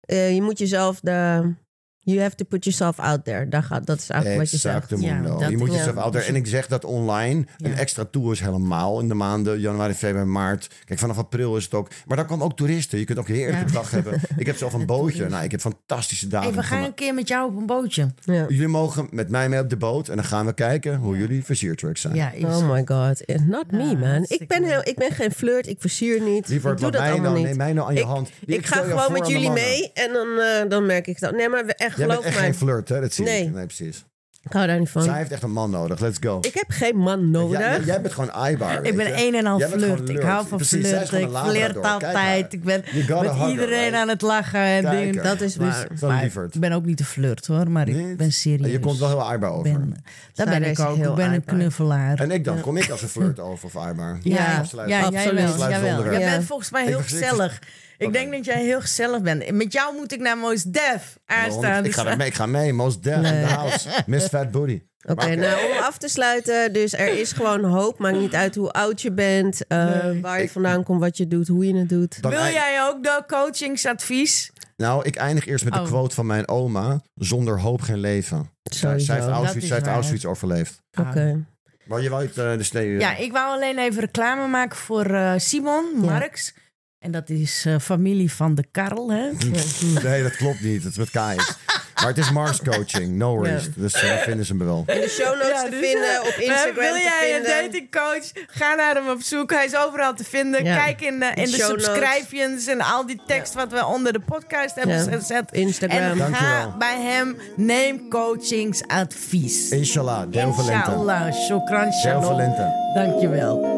Speaker 2: eh, je moet jezelf de. You have to put yourself out there. Daar gaat, dat is eigenlijk wat je
Speaker 3: Exacte
Speaker 2: zegt.
Speaker 1: Ja,
Speaker 3: mundo.
Speaker 1: dat- Dus
Speaker 3: je moet
Speaker 2: ja.
Speaker 3: jezelf ouder. En ik zeg dat online.
Speaker 1: Ja.
Speaker 3: Een extra tour is helemaal in de maanden januari, februari, maart. Kijk, vanaf april is het ook. Maar daar komen ook toeristen. Je kunt ook een heerlijke
Speaker 1: Ja.
Speaker 3: dag hebben. Ik heb zelf een bootje. Nou, ik heb fantastische dagen.
Speaker 1: Hey, we gaan
Speaker 3: gemaakt.
Speaker 1: een keer met jou op een bootje.
Speaker 2: Ja.
Speaker 3: Jullie mogen met mij mee op de boot. En dan gaan we kijken hoe jullie versiertricks zijn.
Speaker 1: Ja, is.
Speaker 2: Oh my god. eh, Not me,
Speaker 1: Ja,
Speaker 2: man.
Speaker 1: hartstikke
Speaker 2: Ik ben, heel,
Speaker 1: leuk.
Speaker 2: ik ben geen flirt. Ik versier niet.
Speaker 3: Liever
Speaker 2: ik doe
Speaker 3: wat
Speaker 2: dat
Speaker 3: mij
Speaker 2: allemaal
Speaker 3: nou,
Speaker 2: niet.
Speaker 3: neem mij nou aan je hand.
Speaker 2: Ik, ga
Speaker 3: stel je
Speaker 2: gewoon
Speaker 3: voor
Speaker 2: met
Speaker 3: aan de
Speaker 2: jullie
Speaker 3: mannen.
Speaker 2: mee en dan, eh, dan merk ik dat. Nee, maar we- echt
Speaker 3: Jij bent
Speaker 2: geloof
Speaker 3: echt
Speaker 2: mij.
Speaker 3: geen flirt, hè? Dat zie
Speaker 2: Nee.
Speaker 3: ik. Nee, precies.
Speaker 2: Ik hou daar niet van.
Speaker 3: Zij heeft echt een man nodig. Let's go.
Speaker 2: Ik heb geen man nodig.
Speaker 3: Jij, jij- jij bent gewoon aaibaar.
Speaker 1: Ik
Speaker 3: weet
Speaker 1: ben
Speaker 3: je.
Speaker 1: een en al
Speaker 3: Jij bent gewoon
Speaker 1: flirt. Ik hou van
Speaker 3: Precies, zij is
Speaker 1: flirten. Ik
Speaker 3: gewoon een
Speaker 1: flirt
Speaker 3: labrador. Kijk haar.
Speaker 1: altijd. Ik ben
Speaker 3: You gotta
Speaker 1: met
Speaker 3: hug her,
Speaker 1: iedereen
Speaker 3: right?
Speaker 1: aan het lachen en
Speaker 3: Kijk
Speaker 1: dingen.
Speaker 3: haar.
Speaker 2: Dat is
Speaker 1: Dus-
Speaker 2: waar.
Speaker 3: Zo'n
Speaker 1: maar
Speaker 3: lieverd.
Speaker 1: Ik ben ook niet de flirt hoor, maar
Speaker 3: Niet?
Speaker 1: ik ben serieus.
Speaker 3: Je komt wel heel aaibaar over.
Speaker 1: ben, dat
Speaker 2: Sarah
Speaker 1: ben ik
Speaker 2: is
Speaker 1: ook.
Speaker 2: heel
Speaker 1: Ik ben een
Speaker 2: aardbaar.
Speaker 1: knuffelaar.
Speaker 3: En ik dan, kom ik als een flirt over of aaibaar?
Speaker 1: Ja,
Speaker 2: Ja,
Speaker 1: ja,
Speaker 3: absoluut.
Speaker 1: jij
Speaker 2: Absoluut.
Speaker 1: wel.
Speaker 2: Sluit
Speaker 1: Jij,
Speaker 3: het
Speaker 1: wel.
Speaker 3: onderwerp.
Speaker 1: jij
Speaker 2: Ja.
Speaker 1: bent volgens mij heel
Speaker 3: Ik begreep-
Speaker 1: gezellig. Ik
Speaker 3: Oké.
Speaker 1: denk dat jij heel gezellig bent. Met jou moet ik naar Moos Def aanstaan. Dus
Speaker 3: Ik ga er mee, ik ga mee. Most dead in the house. Miss Fat Booty.
Speaker 2: Oké,
Speaker 3: Maar oké.
Speaker 2: nou om af te sluiten. Dus er is gewoon hoop. Maakt niet uit hoe oud je bent, eh, waar je
Speaker 3: Ik-
Speaker 2: vandaan komt, wat je doet, hoe je het doet.
Speaker 3: Dan
Speaker 1: Wil
Speaker 3: eind-
Speaker 1: jij ook de coachingsadvies?
Speaker 3: Nou, ik eindig eerst met de
Speaker 1: Oh.
Speaker 3: quote van mijn oma. Zonder hoop geen leven. Zij, zij heeft
Speaker 2: Sowieso.
Speaker 1: Dat
Speaker 3: Auschwitz,
Speaker 1: is
Speaker 3: zij heeft
Speaker 1: waar.
Speaker 3: Auschwitz overleefd.
Speaker 2: Oké.
Speaker 3: Maar je wou het, eh, de snee...
Speaker 1: Ja, ik wou alleen even reclame maken voor eh, Simon Marx. En dat is eh, familie van de Karl, hè?
Speaker 3: eh, Nee, dat klopt niet. Het is met Kai. Maar het is Mars coaching. No worries.
Speaker 2: Ja.
Speaker 3: Dus eh, vinden ze me wel.
Speaker 2: In de show notes te
Speaker 1: dus,
Speaker 2: vinden,
Speaker 1: eh,
Speaker 2: op Instagram
Speaker 1: Wil jij
Speaker 2: te
Speaker 1: een
Speaker 2: vinden.
Speaker 1: datingcoach? Ga naar hem op zoek. Hij is overal te vinden.
Speaker 2: Ja.
Speaker 1: Kijk in de, in de
Speaker 2: show notes.
Speaker 1: subscriptions en al die tekst wat we onder de podcast hebben
Speaker 2: Ja.
Speaker 1: gezet.
Speaker 2: Instagram.
Speaker 1: En ga
Speaker 3: Dankjewel.
Speaker 1: bij hem. Neem coachingsadvies.
Speaker 3: Inshallah. Deo Valenta.
Speaker 1: Inshallah. Shukran.
Speaker 3: Deo
Speaker 1: Shalom.
Speaker 3: Valenta.
Speaker 1: Dankjewel. Oh,